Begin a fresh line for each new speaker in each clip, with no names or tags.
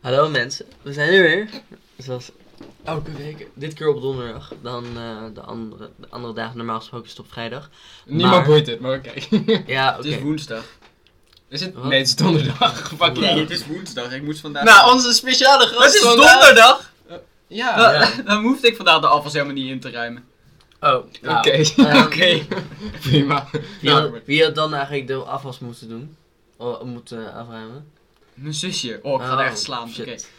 Hallo mensen, we zijn er weer. Zoals elke week, dit keer op donderdag. Dan eh, de, andere, de andere dagen, normaal gesproken is het op vrijdag.
Niemand
Maar-
boeit het, maar oké.
Ja, oké.
Het is woensdag.
Is het?
Wat?
Nee, het is donderdag. Fuck
Nee,
you.
het
is woensdag. Ik moest vandaag.
Nou, onze speciale gast
Nou, het is
vandaag-
donderdag!
Ja.
Ja.
Dan- Dan hoefde ik vandaag de afwas helemaal niet in te ruimen.
Oh, nou,
Oké.
ehm,
Oké.
eh, Prima.
Wie, had,
Nou,
wie had dan eigenlijk de afwas moeten doen? O, moeten eh, afruimen?
Mijn zusje. Oh, ik ga
Oh,
er echt slaan. Oké.
shit.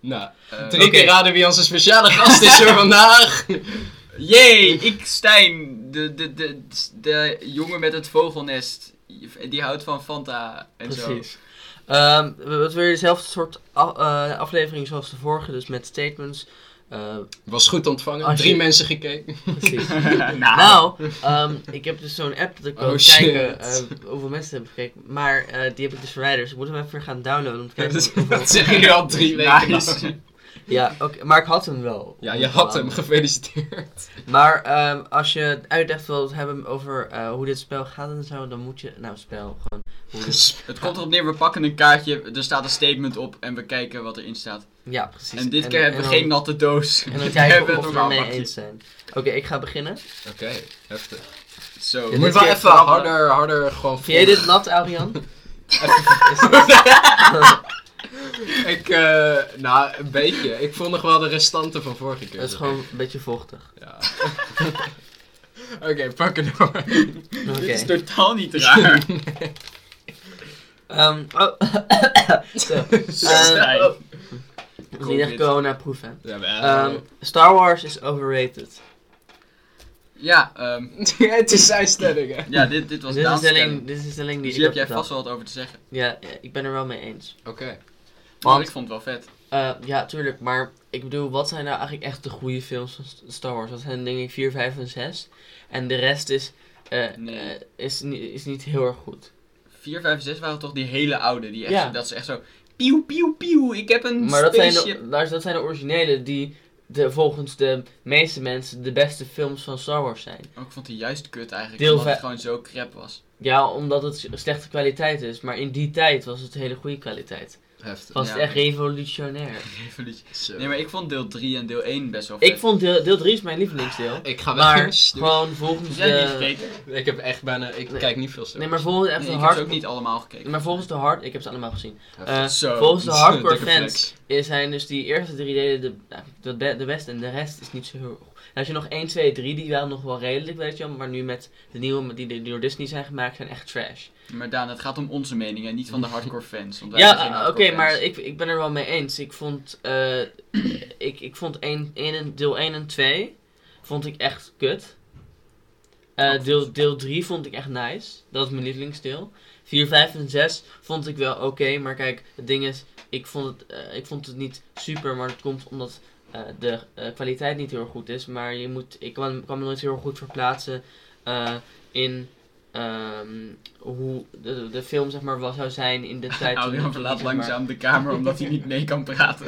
nou,
Eh,
drie
oké.
keer raden wie onze speciale gast is voor vandaag.
Jee, ik Stijn. De, de, de, de jongen met het vogelnest. Die houdt van Fanta en zo.
Precies. Ehm, we hebben weer dezelfde soort af- eh, aflevering zoals de vorige, dus met statements. Eh,
Was goed ontvangen.
Als je-
Drie mensen gekeken.
precies.
nou,
Nou, ehm, ik heb dus zo'n app dat ik kan
Oh,
kijken
shit.
eh, hoeveel mensen hebben gekeken. Maar eh, die heb ik dus verwijderd. Dus ik moet hem even weer gaan downloaden om te kijken.
Dat,
hoeveel-
zeggen jullie al drie weken.
Nice.
lang.
Ja, oké, maar ik had hem wel.
Ja, je had hem. Gefeliciteerd.
Maar ehm, als je uitleg wilt hebben over eh, hoe dit spel gaat en zo, dan moet je... Nou, spel, gewoon... Hoe dit-
Het komt erop neer, we pakken een kaartje, er staat een statement op en we kijken wat erin staat.
Ja, precies.
En dit keer hebben we
en dan-
geen natte doos.
En dan
We hebben
kijken we
een
of we
normaal
ermee
bakje.
eens zijn. Oké, ik ga beginnen.
Oké, heftig.
Zo.
Je
dit
moet
keer
wel even
klappen.
harder, harder gewoon
Vind jij dit nat, Arian?
Ik, eh, nou, een beetje. Ik vond nog wel de restanten van vorige keer.
Het is gewoon een beetje vochtig.
Ja. Oké, pak het door.
Oké.
Dit is totaal niet raar.
Ehm, oh, zo. Eh,
Eh,
Stijn.
Het is niet echt
Covid.
corona-proof, hè?
Ja,
Ehm, Star Wars is overrated.
Ja, ehm,
het is zijn stelling, hè?
ja dit, dit was
Dit is, een
Daan's
stelling,
stelling.
dit is een stelling die
Dus hier
ik
heb jij
had
vast wel wat over te zeggen.
bedacht. Ja, ja, ik ben er wel mee eens.
Oké.
Want
Want-
ik vond het wel vet.
Eh, ja, tuurlijk, maar ik bedoel, wat zijn nou eigenlijk echt de goede films van S- Star Wars? Dat zijn denk ik 4, 5 en 6. En de rest is, eh,
Nee.
eh, is, ni- is niet heel erg goed.
4, 5 en 6 waren toch die hele oude. Die echt,
Ja.
Dat is echt zo... Pieuw, pieuw, pieuw. Ik heb een
Maar dat zijn,
spaceship.
de, luister, dat zijn de originele die de, volgens de meeste mensen de beste films van Star Wars zijn.
Oh, ik vond die juist kut eigenlijk.
Deel
omdat het
vijf-
gewoon zo crap was.
Ja, omdat het s- slechte kwaliteit is. Maar in die tijd was het hele goede kwaliteit.
Heftig.
Was
Ja.
het echt revolutionair.
Revolutie.
Zo.
Nee, maar ik vond deel 3 en deel 1 best wel vet.
Ik vond deel, deel 3 is mijn lievelingsdeel.
Ah,
Ik ga weg.
Maar
Doei.
gewoon volgens
Heb jij
Eh,
die
de...
gekeken?
Ik heb echt bijna... Ik
Nee.
kijk niet veel Star
Nee, maar
Wars.
volgens echt
Nee,
de
ik heb
hard...
ze ook niet allemaal gekeken.
Maar volgens de hard... Ik heb ze allemaal gezien.
Heftig.
Eh,
Zo.
volgens de hardcore
Dikke flex.
fans is- zijn dus die eerste drie delen de, nou, de, be- de beste en de rest is niet zo heel goed. En als je nog 1, 2, 3, die waren nog wel redelijk, weet je wel. Maar nu met de nieuwe die door Disney zijn gemaakt, zijn echt trash.
Maar Daan, het gaat om onze mening en niet van de hardcore fans. Want wij zijn geen
Ja, eh, ah, oké,
hardcore fans.
maar ik, ik ben er wel mee eens. Ik vond, eh, ik, ik vond één- één en- deel 1 en 2 vond ik echt kut. Eh,
Oh,
deel, deel 3 vond ik echt nice. Dat is mijn lievelingsdeel. 4, 5 en 6 vond ik wel oké. maar kijk, het ding is, ik vond het, eh, ik vond het niet super. Maar dat komt omdat eh, de eh, kwaliteit niet heel erg goed is. Maar je moet, ik kan, kan me nooit heel erg goed verplaatsen eh, in ehm, hoe de, de film zeg maar, wel zou zijn in de tijd. toen
Arjan
het
verlaat
zeg maar-
langzaam de kamer omdat hij niet mee kan praten.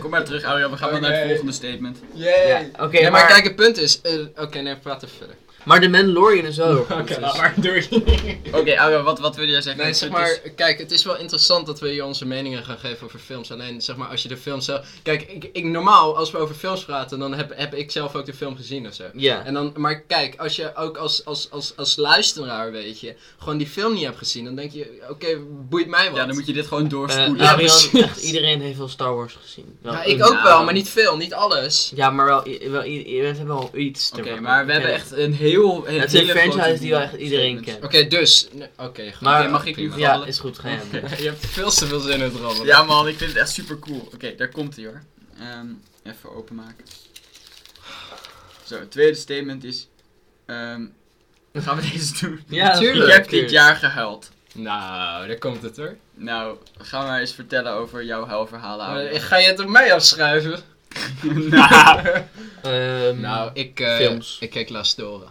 Kom maar terug, Arjan. We gaan wel naar het
Oké.
volgende statement.
Yay.
Ja, oké,
Nee, maar,
maar-
kijk, het punt is... eh, Oké, nee, praat even verder.
Maar de Mandalorian is ook.
Oké, laat maar door.
Oké, Arjan, wat, wat wil jij zeggen?
Nee,
Het-
zeg
het is-
maar, kijk, het is wel interessant dat we hier onze meningen gaan geven over films. Alleen, zeg maar, als je de film zelf... Kijk, ik, ik, normaal, als we over films praten, dan heb, heb ik zelf ook de film gezien of zo.
Ja.
En dan, maar kijk, als je ook als, als, als, als luisteraar, weet je, gewoon die film niet hebt gezien, dan denk je, oké, boeit mij wat.
Ja, dan moet je dit gewoon doorspoelen.
Eh,
Ja,
Arian,
precies.
echt iedereen heeft wel Star Wars gezien. Wel
Ja,
een-
ik ook
Nou.
wel, maar niet veel, niet alles.
Ja, maar wel, i- wel i- i- we hebben wel iets. te
Oké,
vertellen.
maar we hebben echt een heel. Een
Het is een
hele
franchise
grote
die wel echt iedereen
statement.
kent.
Oké, dus... nee, Oké, goed.
Maar-
Oké,
mag ik nu
prima.
Ja, is goed, ga jij.
Oké.
Je hebt veel te veel zin in het rabbelen.
Ja, man, ik vind het echt super cool. Oké, daar komt hij hoor. Ehm, even openmaken. Zo, het tweede statement is. ehm, gaan we deze doen?
Ja,
Tuurlijk.
Ik heb dit
tuurlijk.
jaar gehuild.
Nou, daar komt het hoor.
Nou, ga maar eens vertellen over jouw huilverhalen.
Eh,
ouwe.
ga je het op mij afschrijven?
Nou.
Ehm,
Nou, ik, eh,
Films.
ik keek La Stora.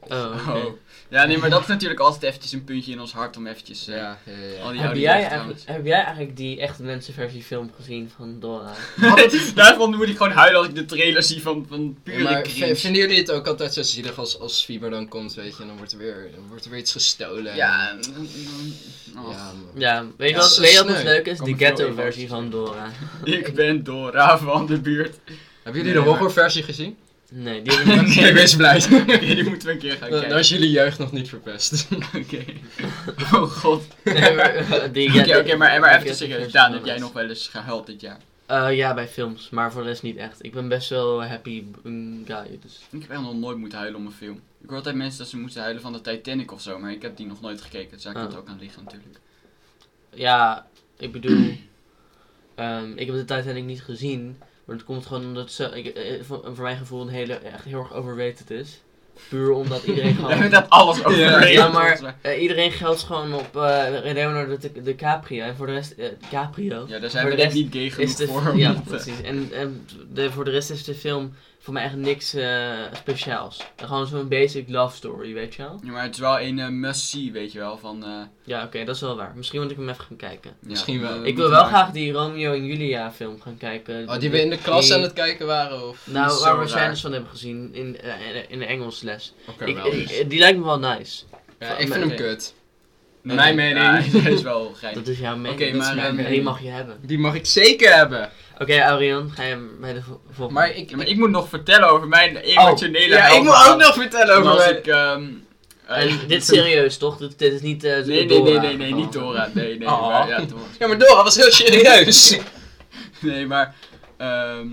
oh,
Oh.
oké.
Ja, nee, maar dat is natuurlijk altijd eventjes een puntje in ons hart om eventjes... eh,
Ja, ja, ja.
Al die
Heb
oude
jij,
jeugd
eigenlijk,
trouwens.
heb jij eigenlijk die echte mensenversie film gezien van Dora?
Daarvan moet ik gewoon huilen als ik de trailer zie van, van pure
maar
cringe.
v- vinden jullie het ook altijd zo zielig als, als Fieber dan komt, weet je, en dan wordt er weer, dan wordt er weer iets gestolen?
Ja,
en-
mm, mm, oh.
ja man.
Ja, weet je
Ja,
wat,
zo
weet je wat nog
sneu.
leuk is?
Kan
De
me veel
ghetto-versie
emoties
van Dora.
ik ben Dora van de buurt.
Hebben jullie
Nee,
de
maar-
horrorversie gezien?
Nee, die hebben we niet.
Nee, wees blij.
Oké, die moeten we een keer gaan
Dan,
kijken.
dan Eh, is jullie jeugd nog niet verpest.
Oké. Oh god.
Nee, maar, die
Oké,
ghetto-
oké, maar, maar
die
even serieus.
ghetto-versie
Daan,
van
heb jij
Dora.
nog wel eens gehuild dit jaar?
Eh, ja, bij films, maar voor de rest niet echt. Ik ben best wel een happy mm, guy, dus...
Ik heb echt nog nooit moeten huilen om een film. Ik hoor altijd mensen dat ze moeten huilen van de Titanic of zo, maar ik heb die nog nooit gekeken. Dus daar kan het
Oh.
ook aan liggen natuurlijk.
Ja, ik bedoel... ehm, ik heb de Titanic niet gezien, maar het komt gewoon omdat het zo, ik, eh, voor, voor mijn gevoel een hele, echt heel erg overrated is. Puur omdat iedereen
Jij
gewoon...
vindt dat alles over.
Ja, maar eh, iedereen geldt gewoon op eh Leonardo Di- DiCaprio. En voor de rest, eh DiCaprio.
Ja, daar zijn
Voor
we
de
net
rest
niet gay
Is
genoeg
de,
voor. om
ja,
dat eh, te-
precies. En, en de, voor de rest is de film voor mij echt niks eh, speciaals. Gewoon zo'n basic love story, weet je wel?
Ja, maar het is wel een eh, must-see, weet je wel. Van, eh, ja.
Ja, oké, dat is wel waar. Misschien moet ik hem even gaan kijken.
Misschien wel.
we
ik wil
Eh, moeten
wel
maar-
graag die Romeo en Julia film gaan kijken.
Oh, die we in de klas
die-
aan het kijken waren? Of...
Nou,
Zo
waar we
raar.
scènes van hebben gezien in, eh, in de Engels les.
Oké,
Ik,
wel.
ik- eh, die lijkt me wel nice.
ja, ik vind hem kut.
Mijn
Nee,
mening
nee.
is wel geinig.
Dat is jouw mening.
Oké,
dat is
maar,
mijn
eh,
mening. die mag je hebben.
Die mag ik zeker hebben.
Oké, Aurian, ga je bij de vol- volgende.
Maar ik...
Ja, maar ik moet nog vertellen over mijn emotionele
ja, ik moet
helft.
ook nog vertellen over
Toen was
mijn...
ik, ehm,
En
eh,
dit is serieus, toch? Dit, dit is niet. eh,
Nee, nee,
Dora
nee, nee, nee,
geval.
niet Dora. Nee, nee,
Oh.
maar, ja, Dora.
Ja, maar Dora was heel serieus.
Nee, maar. ehm,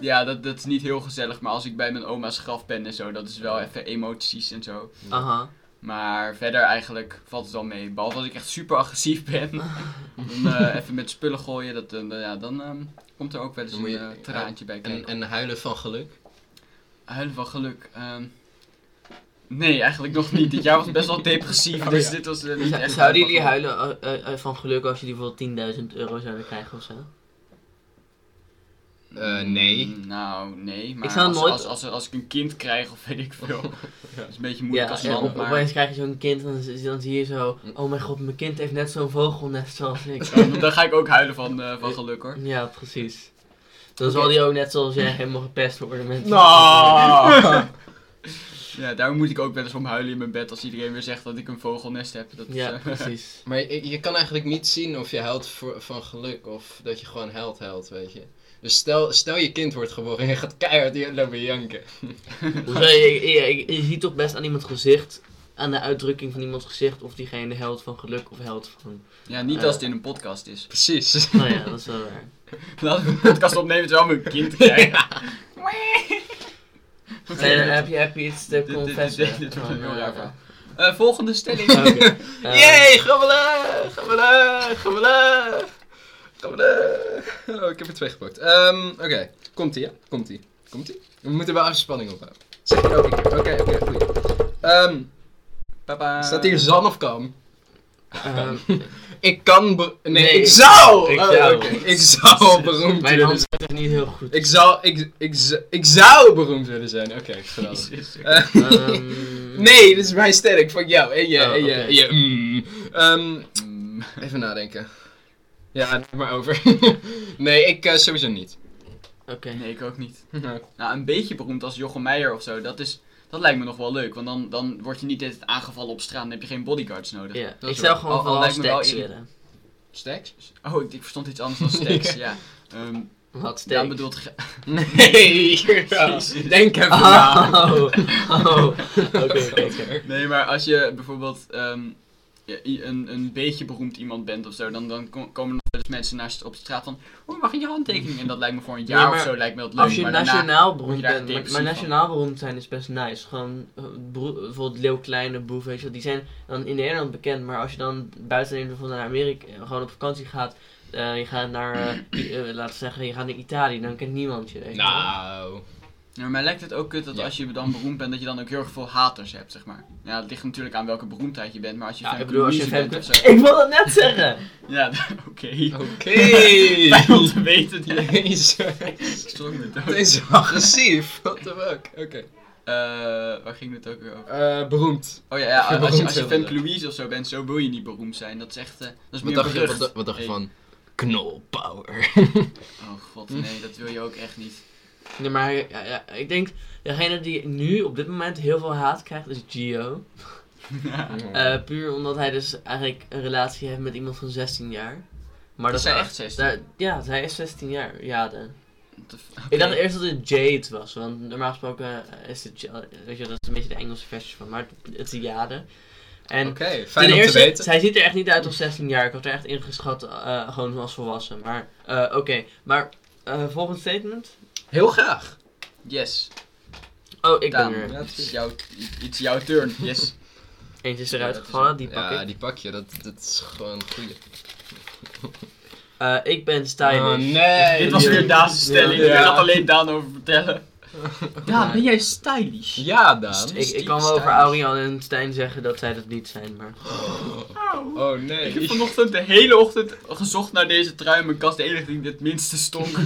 ja, dat, dat is niet heel gezellig. Maar als ik bij mijn oma's graf ben en zo, dat is wel even emoties en zo.
Aha.
Maar verder eigenlijk valt het wel mee. Behalve als ik echt super agressief ben. dan eh, even met spullen gooien. Dat, eh, ja, dan ehm, komt er ook wel eens
Dan
een
moet je-
eh, traantje bij
En,
kijken.
en huilen van geluk.
Huilen van geluk. ehm, nee, eigenlijk nog niet. Dit jaar was best wel depressief.
Oh,
Dus
ja.
dit was eh, niet
Zou-
echt.
Zouden
van
jullie
geluk.
huilen eh, eh, eh, van geluk als jullie bijvoorbeeld 10.000 euro zouden krijgen of zo?
Eh, nee.
Mm, Nou, nee. Maar
zou
als,
nooit-
als, als, als ik een kind krijg of weet ik veel. Dat is een beetje moeilijk als
ja,
man,
op,
maar...
opeens krijg je zo'n kind en dan, zie- dan zie je zo... Oh mijn god, mijn kind heeft net zo'n vogelnest zoals ik.
Dan, dan ga ik ook huilen van, eh, van geluk, hoor.
ja, precies. Dan zal die ook net zoals jij helemaal gepest worden met...
Nou.
Ja, daar moet ik ook wel eens om huilen in mijn bed als iedereen weer zegt dat ik een vogelnest heb. Dat is,
Ja,
eh,
precies.
Maar je, je kan eigenlijk niet zien of je huilt voor- van geluk of dat je gewoon huilt, huilt, weet je. Dus stel, stel je kind wordt geboren en je gaat keihard hier lopen janken.
Hoezo, je, je, je- je ziet toch best aan iemands gezicht... Aan de uitdrukking van iemands gezicht of diegene held van geluk of held van...
ja, niet als het in een podcast is.
Precies.
Nou ja, dat is wel waar.
Laten we een podcast opnemen terwijl we een kind krijgen.
Zijn er- heb, je, heb je iets te
Dit- dit-
confessen?
dit- dit wordt een heel
Van,
raar
eh,
verhaal. Eh, volgende stelling.
oké. Eh,
Yay, gammelen, gammelen, gammelen, gammelen. Oh, ik heb er twee gepakt. Ehm, Oké, komt-ie, hè? Komt-ie. Komt-ie? We moeten wel even spanning opbouwen. Zeg ik elke keer. Oké, oké, goed. Ehm,
Papa.
staat hier zan of kam?
ehm,
Ik kan... be- Nee,
Nee,
ik zou!
ik
Oh,
zou.
oké. Ik zou beroemd
mijn
willen
hand is niet heel goed.
Ik zou, ik, ik, z- ik zou beroemd willen zijn. Oké, geweldig.
Jezus.
Eh,
Ehm,
nee, dit is mijn sterk van jou. En je,
Oh,
en
oké.
je, en je. mm. Ehm,
Mm.
even nadenken. Ja, doe maar over. nee, ik eh, sowieso niet.
Oké.
Nee, ik ook niet.
Nou,
Nou, een beetje beroemd als Jochem Meijer of zo, dat, is, dat lijkt me nog wel leuk. Want dan, dan word je niet de hele tijd aangevallen op straat en heb je geen bodyguards nodig.
Ja,
is
ik zou
wel-
gewoon
al- al
vooral
lijkt me wel
stacks
eerlijk.
willen.
Stacks?
Oh, ik, ik verstond iets anders dan stacks, ja. Ehm
Wat stacks?
Daan bedoelt... ge-
Nee.
Jezus.
Denk even na.
Oh, oh. Oké, oké, oké.
Nee, maar als je bijvoorbeeld ehm, ja, i- een, een beetje beroemd iemand bent of zo, dan, dan kom- komen er nog wel eens mensen naar, st- op straat van... Oh, mag ik je handtekening? En dat lijkt me voor een
Ja,
jaar of
maar
zo lijkt me dat leuk.
Als je
maar daarna-
nationaal
word
beroemd
je daar
bent, maar, maar
depressief
nationaal beroemd zijn is best nice. Gewoon eh, beroe- bijvoorbeeld Leeuw Kleine, Boef, weet je wel, die zijn dan in Nederland bekend, maar als je dan buiten Nederland bijvoorbeeld naar Amerika, eh, gewoon op vakantie gaat, eh, je gaat naar, eh, I- eh, laten we zeggen, je gaat naar Italië, dan kent niemand je. weet je wel.
Nou.
Ja, maar mij lijkt het ook kut dat
Ja.
als je dan beroemd bent, dat je dan ook heel erg veel haters hebt, zeg maar. Ja, het ligt natuurlijk aan welke beroemdheid je bent, maar als je
Ja,
Femke
ik bedoel, als je
Louise
Femke...
bent of zo...
Ik wil dat net zeggen!
Ja, d- oké.
Oké.
Fijn om te weten. die-
Jezus.
Ik schrok me dood.
Het is wel agressief. What the fuck? Oké.
Eh, waar ging het ook weer over?
Eh, beroemd.
Oh ja, ja als, je,
Beroemd
als je
wilde.
Femke Louise of zo bent, zo wil je niet beroemd zijn. Dat is echt, eh, dat is
Wat
meer een
dacht, je,
gerucht.
wat, da- wat dacht je
Hey.
van? Knolpower.
Oh god, nee, dat wil je ook echt niet.
Nee, maar hij- ja, ja, ik denk, degene die nu op dit moment heel veel haat krijgt is Gio. Eh, puur omdat hij dus eigenlijk een relatie heeft met iemand van 16 jaar. Maar dat,
dat zijn
is
echt 16.
daar- ja, zij is 16 jaar. Ja, de-
What the f- Oké.
Ik dacht eerst dat het Jade was, want normaal gesproken eh, is het, Ja- weet je, dat is een beetje de Engelse versie van, maar het, het is Jade. En
Oké, fijn om
ten
te
eerste,
weten.
zij ziet er echt niet uit als 16 jaar. Ik had er echt ingeschat, eh gewoon als volwassen. Maar, eh, oké. Maar, eh, volgend statement?
Heel graag.
Yes,
Oh, ik
Daan,
ben er.
Ja,
het is jouw, it's jouw turn. Yes.
Eentje is
Ja,
eruit
dat is
gevallen, die pak
ja,
ik.
die pak je. Dat, dat is gewoon een goeie.
Eh, ik ben stylish.
Oh, nee.
Dit was weer Daan's stelling.
Ja.
Ik had alleen Daan over vertellen.
Ja, ben
jij stylish?
Ja, Daan.
Dus Ik, ik kan wel over Arian en Stijn zeggen dat zij dat niet zijn, maar...
Oh
Ik heb
nee.
vanochtend de hele ochtend gezocht naar deze trui in mijn kast. De enige die het minste stonk.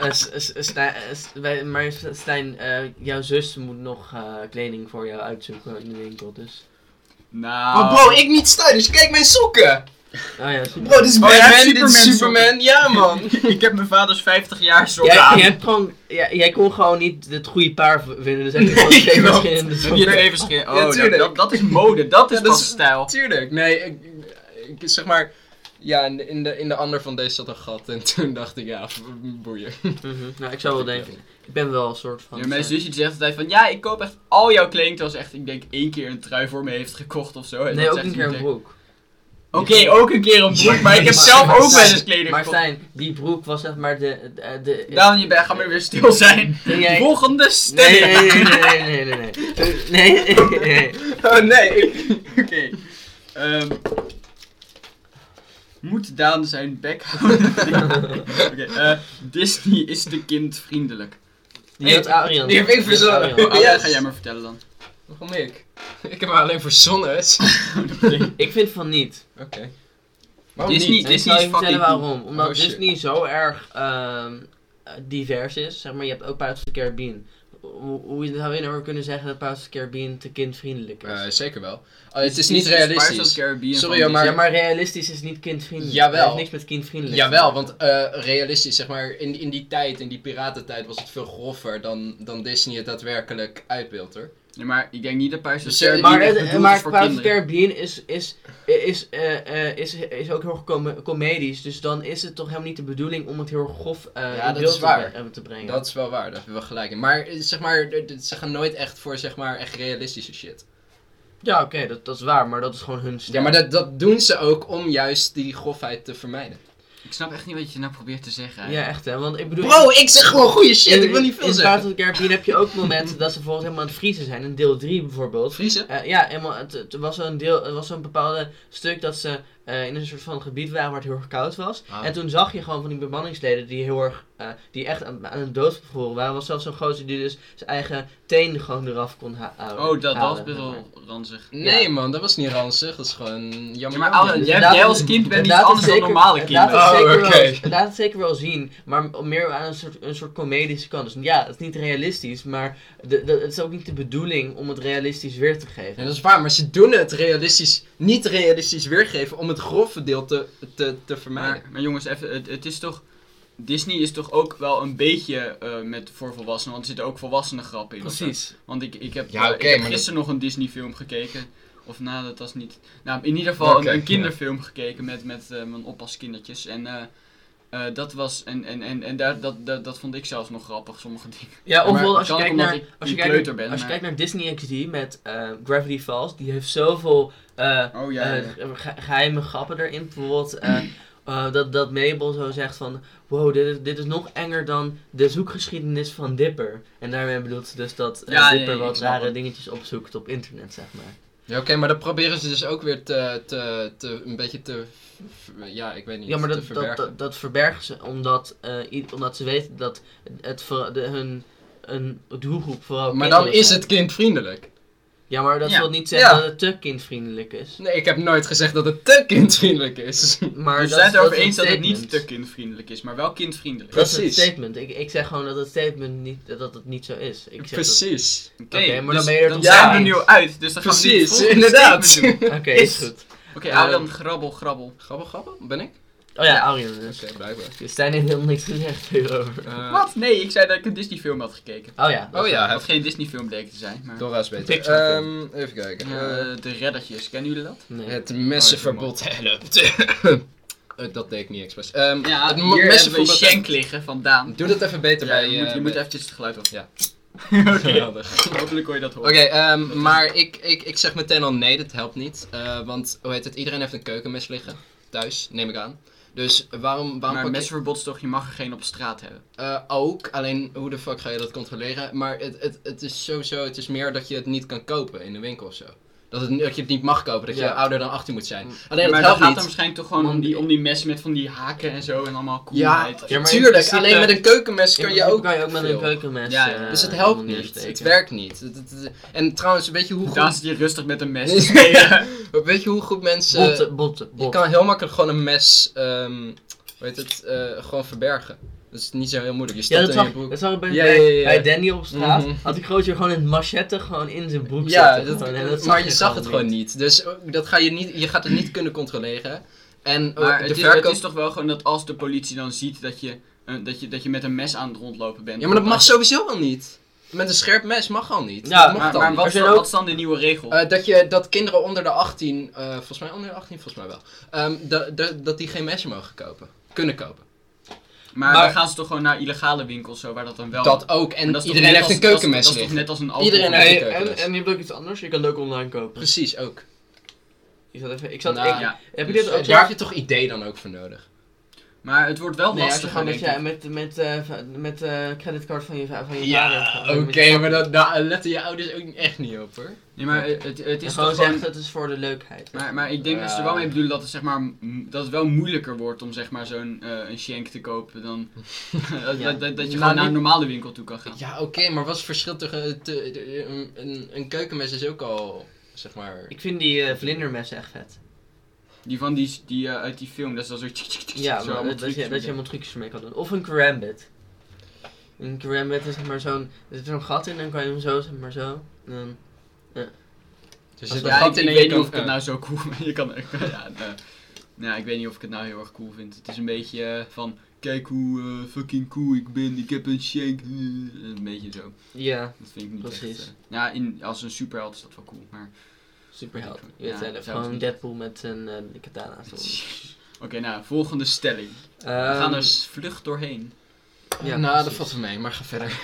Eh, S- S- Stijn- eh, S- wij- maar S- Stijn, eh, jouw zus moet nog eh, kleding voor jou uitzoeken in de winkel, dus...
Nou.
Oh bro, ik niet stylish. Kijk mijn sokken.
Oh ja, super.
Bro, dit is
Oh, jij
Batman,
hebt
dit is
Superman
Superman. Ja man.
ik heb mijn vaders 50 jaar zorg
Jij,
aan.
jij, hebt gewoon, jij, jij kon gewoon niet het goede paar v- vinden, dus heb je gewoon twee
klopt.
verschillende
Heb je
soorten.
er even schreeuwen?
Ja,
Oh, dat,
tuurlijk.
dat, dat is mode. Dat is
Ja, dat
pas
is-
stijl.
Tuurlijk. Nee, ik, ik- ik zeg maar. Ja, in de, in, de, in de ander van deze zat een gat. En toen dacht ik, ja, boeien.
Mhm. Nou, ik zou wel denken. Ik ben wel een soort van...
Ja, mijn
eh,
zusje zegt altijd van, ja, ik koop echt al jouw kleding. Terwijl ze echt, ik denk, één keer een trui voor me heeft gekocht of zo. En
Nee,
dat
ook
zegt
een
ze
keer een
meteen.
broek.
Oké, ook een keer een broek. Maar ik heb
Maar-
zelf
maar
ook wel
Stijn-
eens kleding
Maar
gekocht.
Stijn, die broek was zeg maar de... de, de
Daan, je bent, ga maar weer stil zijn.
Toen jij-
Volgende
Nee,
stelling.
nee, nee, nee, nee, nee, nee. Nee, nee, nee.
Oh nee, ik...
Oké. Ehm, moet Daan zijn bek houden? Oké, eh, Disney is te kindvriendelijk.
Die had Arian.
die heb ik
Die had
verzonnen.
Arian.
Oh, ja,
Yes.
ga jij maar vertellen dan.
Waarom ik? Ik heb haar alleen verzonnen. hè.
Oké.
Ik vind van niet.
Oké. Waarom
Disney-
niet?
En ik zal
is
je vertellen
fucking cool.
waarom. Omdat
Oh, shit.
Disney zo erg ehm, eh, divers is. Zeg maar, je hebt ook Pirates of the Caribbean. Hoe, hoe zou je nou weer kunnen zeggen dat Pirates of the Caribbean te kindvriendelijk is?
Eh, zeker wel. Oh, het is
Disney
niet
Pirates of the
realistisch.
Caribbean
Sorry,
van
hoor, maar-
ja, maar realistisch is niet kindvriendelijk.
Jawel.
Dat heeft niks met kindvriendelijk. te
Jawel,
maken.
want eh, realistisch, zeg maar, in, in die tijd, in die piratentijd, was het veel grover dan, dan Disney het daadwerkelijk uitbeeldt, hoor.
Nee, maar ik denk niet dat Pirates of
Dus,
the Caribbean
Maar,
echt
het-
bedoeld is
maar
voor
Pirates of the
kinderen.
Caribbean is, is, is, eh, eh, is, is ook heel erg com- comedisch. Dus dan is het toch helemaal niet de bedoeling om het heel erg grof eh
Ja,
in
dat
beeld
is waar.
te, bre- te brengen.
Dat is wel waar, daar hebben we gelijk in. Maar, eh, zeg maar, d- d- ze gaan nooit echt voor, zeg maar, echt realistische shit.
Ja, oké, dat, dat is waar. Maar dat is gewoon hun stijl.
Ja, maar dat, dat doen ze ook om juist die grofheid te vermijden.
Ik snap echt niet wat je nou probeert te zeggen.
Ja, echt hè. Want ik bedoel...
Bro, ik zeg gewoon goede shit,
in-
ik wil niet veel
in
zeggen.
Pirates of the Caribbean heb je ook momenten dat ze bijvoorbeeld helemaal aan het vriezen zijn. In deel 3 bijvoorbeeld.
Vriezen?
Eh, ja, helemaal, het, het was zo'n deel, het was zo'n bepaalde stuk dat ze eh, in een soort van gebied waren waar het heel erg koud was.
Ah.
En toen zag je gewoon van die bemanningsleden die heel erg, eh, die echt aan, aan het dood bevroren waren. Er was zelfs zo'n gozer die dus zijn eigen teen gewoon eraf kon ha- houden.
Oh, dat was
halen,
best
zeg maar.
wel ranzig.
Nee man, dat was niet ranzig, dat is gewoon
Ja,
jammer. jammer.
maar Alan, jij,
Dus Inderdaad-
jij als kind bent iets
En laat
anders
het
dan
zeker-
normale
en
kinderen.
Laat het,
Oh,
zeker wel,
oké.
en laat het zeker wel zien, maar m- meer aan een soort, een soort comedische kant. Dus ja, het is niet realistisch, maar de, de- het is ook niet de bedoeling om het realistisch weer te geven.
Ja, dat is waar, maar ze doen het realistisch, niet realistisch weergeven om het grove deel te, te, te vermijden.
Maar, maar jongens, even, het, het is toch... Disney is toch ook wel een beetje eh, met, voor volwassenen, want er zitten ook volwassenen grappen in. of zo. Want ik, ik heb,
Ja,
eh,
oké,
ik heb
maar dat-
gisteren nog een Disney film gekeken. Of nou, dat was niet... Nou, in ieder geval
Oké,
een, een
ja.
kinderfilm gekeken met, met eh, mijn oppaskindertjes. En eh, eh, dat was... En, en, en, en daar, dat, dat, dat vond ik zelfs nog grappig, sommige dingen.
Ja, of
maar
wel als je
kan
kijkt
omdat
naar,
ik
als je
een
kijkt,
kleuter ben,
als je
maar-
kijkt naar Disney XD met eh, Gravity Falls, die heeft zoveel eh,
Oh ja, ja,
eh, ge- geheime grappen erin. Bijvoorbeeld eh, eh, dat, dat Mabel zo zegt van, wow, dit is, dit is nog enger dan de zoekgeschiedenis van Dipper. En daarmee bedoelt ze dus dat eh,
Ja, nee,
Dipper
ik
wat
snap
rare
het.
dingetjes opzoekt op internet, zeg maar.
Ja, oké, maar dat proberen ze dus ook weer te, te, te een beetje te, ver- ja, ik weet niet,
Ja, maar
te
dat, dat,
verbergen.
dat, dat verbergen ze omdat, eh, i- omdat ze weten dat het, voor de, hun een doelgroep vooral
maar dan
kinderen
is
zijn.
het kindvriendelijk.
Ja, maar dat
Ja.
wil niet zeggen
Ja.
dat het te kindvriendelijk is.
Nee, ik heb nooit gezegd dat het te kindvriendelijk is.
Maar
we
dat
zijn
is-
het erover
is een
eens dat het niet
statement.
te kindvriendelijk is, maar wel kindvriendelijk.
Dat is een
Precies.
statement. Ik, ik zeg gewoon dat het statement niet, dat het niet zo is. Ik zeg dat-
Precies.
Oké,
maar dan ben je er
dus dan
toch
zijn
mee
we
eens.
er nu al uit, dus dan gaan we nu het
Precies,
volgende
inderdaad.
statement doen.
Oké, is goed.
Oké, hou
Ehm,
dan grabbel, grabbel.
Grabbel, grabbel? Ben ik?
Oh ja, Arjen dus.
Oké, blijkbaar.
Dus Stijn heeft helemaal niks gezegd hierover.
Eh,
Wat? Nee, ik zei dat ik een Disney film had gekeken.
Oh ja. dat
Oh
is
ja,
waar.
hij-
Wat geen Disney film bleek te zijn, maar...
Dora is beter.
Pixar
Ehm, even kijken. Eh,
Eh, de reddertjes, kennen jullie dat?
Nee.
Het messenverbod helpt. Eh, dat deed ik niet expres. Ehm,
Ja,
het
hier
mo-
hebben we
messenverbod
Shank liggen vandaan.
Doe dat even beter
Ja,
bij...
je moet,
eh,
je moet
bij-
eventjes het geluid op.
Ja.
Oké,
Geweldig.
hopelijk hoor je dat horen.
Oké, ehm, maar ik, ik, ik zeg meteen al nee, dat helpt niet. Eh, want, hoe heet het, iedereen heeft een keukenmes liggen. Thuis, neem ik aan. Dus waarom, waarom
Maar
pak je-
messenverbod is toch, je mag er geen op straat hebben.
Eh, ook, alleen hoe de fuck ga je dat controleren? Maar het, het, het is sowieso, het is meer dat je het niet kan kopen in de winkel of zo. Dat, het, dat je het niet mag kopen, dat je
Ja.
ouder dan 18 moet zijn.
Mm.
Alleen
maar
dat helpt
dat gaat dan
niet.
waarschijnlijk toch gewoon om die, om die messen met van die haken en zo en allemaal
Ja,
coolheid.
Ja, maar in
tuurlijk,
principe-
alleen met een keukenmes
In
kan je
principe
ook
kan je ook met een
veel.
keukenmes.
Ja, ja.
eh,
Dus het helpt
helemaal
niet, het
neersteken.
werkt niet. Het- het- het- En trouwens, weet je hoe
Daar
goed,
zit je rustig met een mes te spelen.
weet je hoe goed mensen...
Botten, botten,
eh, Je
botten.
kan heel makkelijk gewoon een mes, ehm hoe heet het, eh, gewoon verbergen. Dat is niet zo heel moeilijk. Je
Ja,
stopt
dat
het in je
zag,
broek.
dat zag ik bij,
Ja, ja, ja, ja.
bij Danny op straat.
Mhm.
Had die grootje gewoon een machette gewoon in zijn broek
Ja,
zitten.
dat-
gewoon, en zag
maar je zag het gewoon niet. Dus eh, dat ga je, niet, je gaat het niet kunnen controleren. En eh,
Maar
de
het is,
verkoop...
het is toch wel gewoon dat als de politie dan ziet dat je, eh, dat je, dat je met een mes aan het rondlopen bent.
Ja, maar dat mag
Als-
sowieso al niet. Met een scherp mes mag al niet.
Ja,
dat mag
Maar,
dan
maar
niet.
wat,
Er
is
zijn
dan-
ook-
wat is dan de nieuwe regel?
Eh, dat, je, dat kinderen onder de 18, eh, volgens mij onder de 18, volgens mij wel, ehm, dat- dat- dat die geen mesje mogen kopen. Kunnen kopen.
maar,
maar-
dan gaan ze toch gewoon naar illegale winkels zo, waar dat dan wel...
Dat ook. En,
Maar dat is toch
iedereen
net
heeft
als-
een keukenmes
dat is-
liggen.
Dat is toch net als een alcohol.
Iedereen heeft-
Nee, en,
keukenmes.
en je hebt ook iets anders. Je kan het ook online kopen.
Precies, ook.
Ik zat even, ik zat,
Nou,
ik-
Ja.
heb ik
Dus,
dit
eh,
ook
daar
zo-
heb je toch idee dan ook voor nodig.
Maar het wordt wel
Nee, als je
lastiger,
gewoon met,
denk
je, met,
ik.
met, eh, va- met eh, creditcard van je, va- van je vader.
Ja,
gaat.
oké,
Met je-
maar dat, daar letten je ouders ook echt niet op hoor.
Nee, maar het, het, het
en
is
gewoon
toch gewoon...
zeggen, het is voor de leukheid.
Maar, maar ik denk dat ze er wel mee bedoelen dat het, zeg maar, m- dat het wel moeilijker wordt om zeg maar zo'n eh, een shank te kopen dan dat, dat, dat je
Nou,
gewoon naar
niet-
een normale winkel toe kan gaan.
Ja, oké, maar wat is het verschil tussen... eh, te- te- een- een, een keukenmes is ook al, zeg maar...
Ik vind die eh, vlindermessen echt vet.
Die van die, die eh, uit die film, dat is dan zo...
Ja, maar dat, dat, je, dat je helemaal trucjes ermee kan doen. Of een karambit. Een karambit is zeg maar zo'n... Er zit zo'n gat in, dan kan je hem zo, zeg maar zo. En dan-
Er
zit een
Ja, ik, ik weet niet of ik het
nou...
nou zo cool vind. Je kan, ja, nee. Nou, ik weet niet of ik het nou heel erg cool vind. Het is een beetje eh, van, kijk hoe eh, fucking cool ik ben, ik heb een shank. eh, Een beetje zo.
Ja,
Dat vind ik niet
Precies.
echt... eh, ja, in, als een superheld is dat wel cool, maar...
superheld. Je
Ja,
weet zelf.
zelfs
Gewoon
niet.
Deadpool met zijn eh katana. stond.
Oké, nou, volgende stelling. We
Ehm,
gaan er s- vlug doorheen.
Ja,
nou, dat
precies.
valt wel mee, maar ga verder.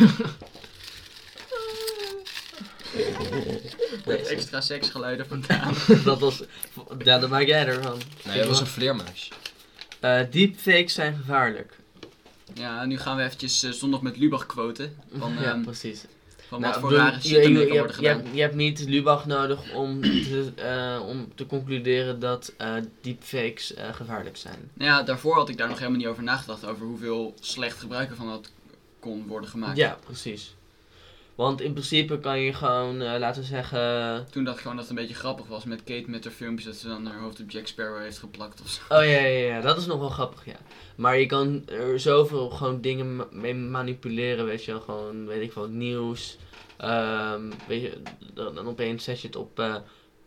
nee,
Extra seksgeluiden vandaan.
dat was... Ja, dat maak jij ervan.
Nee, dat was een vleermuis.
Eh, deepfakes zijn gevaarlijk.
Ja, nu gaan we eventjes eh, zondag met Lubach quoten. Van,
ja,
ehm,
precies.
van
Nou,
wat voor
bedoel,
rare
je,
shit er
je-
mee
je
kan worden
hebt, je,
gedaan.
hebt, je hebt niet Lubach nodig om te, eh, om te concluderen dat eh, deepfakes eh, gevaarlijk zijn.
Nou ja, daarvoor had ik daar nog helemaal niet over nagedacht. Over hoeveel slecht gebruik ervan dat kon worden gemaakt.
Ja, precies. Want in principe kan je gewoon, eh, laten we zeggen...
Toen dacht ik gewoon dat het een beetje grappig was met Kate met haar filmpjes dat ze dan haar hoofd op Jack Sparrow heeft geplakt of zo.
Oh ja, ja, ja, dat is nog wel grappig, ja. Maar je kan er zoveel gewoon dingen ma- mee manipuleren, weet je wel. Gewoon, weet ik wat, nieuws. Ehm, weet je, dan, dan opeens zet je het op, eh,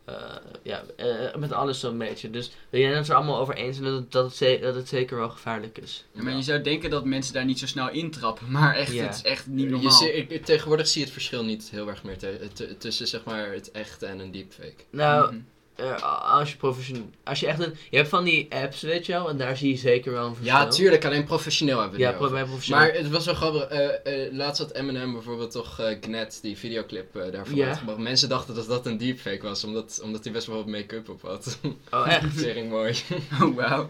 eh, ja, eh, met alles zo'n beetje. Dus we zijn het er allemaal over eens en dat het, dat, het ze- dat het zeker wel gevaarlijk is.
Ja, maar je zou denken dat mensen daar niet zo snel intrappen, maar echt,
Ja.
het is echt niet
Je
normaal.
zie- ik- ik- tegenwoordig zie je het verschil niet heel erg meer te- te- tussen zeg maar, het echte en een deepfake.
Nou,
Mhm.
eh, als je professioneel, als je echt een, je hebt van die apps, weet je wel, en daar zie je zeker wel een verschil.
Ja, tuurlijk, alleen professioneel hebben we
Ja,
het nu over.
pro- bij professioneel.
Maar het was wel grappig. eh, eh, laatst had Eminem bijvoorbeeld toch eh Gnet, die videoclip eh, daarvan
Ja.
uitgebracht. Mensen dachten dat dat een deepfake was, omdat, omdat hij best wel wat make-up op had.
Oh, echt?
Tering mooi.
Oh, wauw.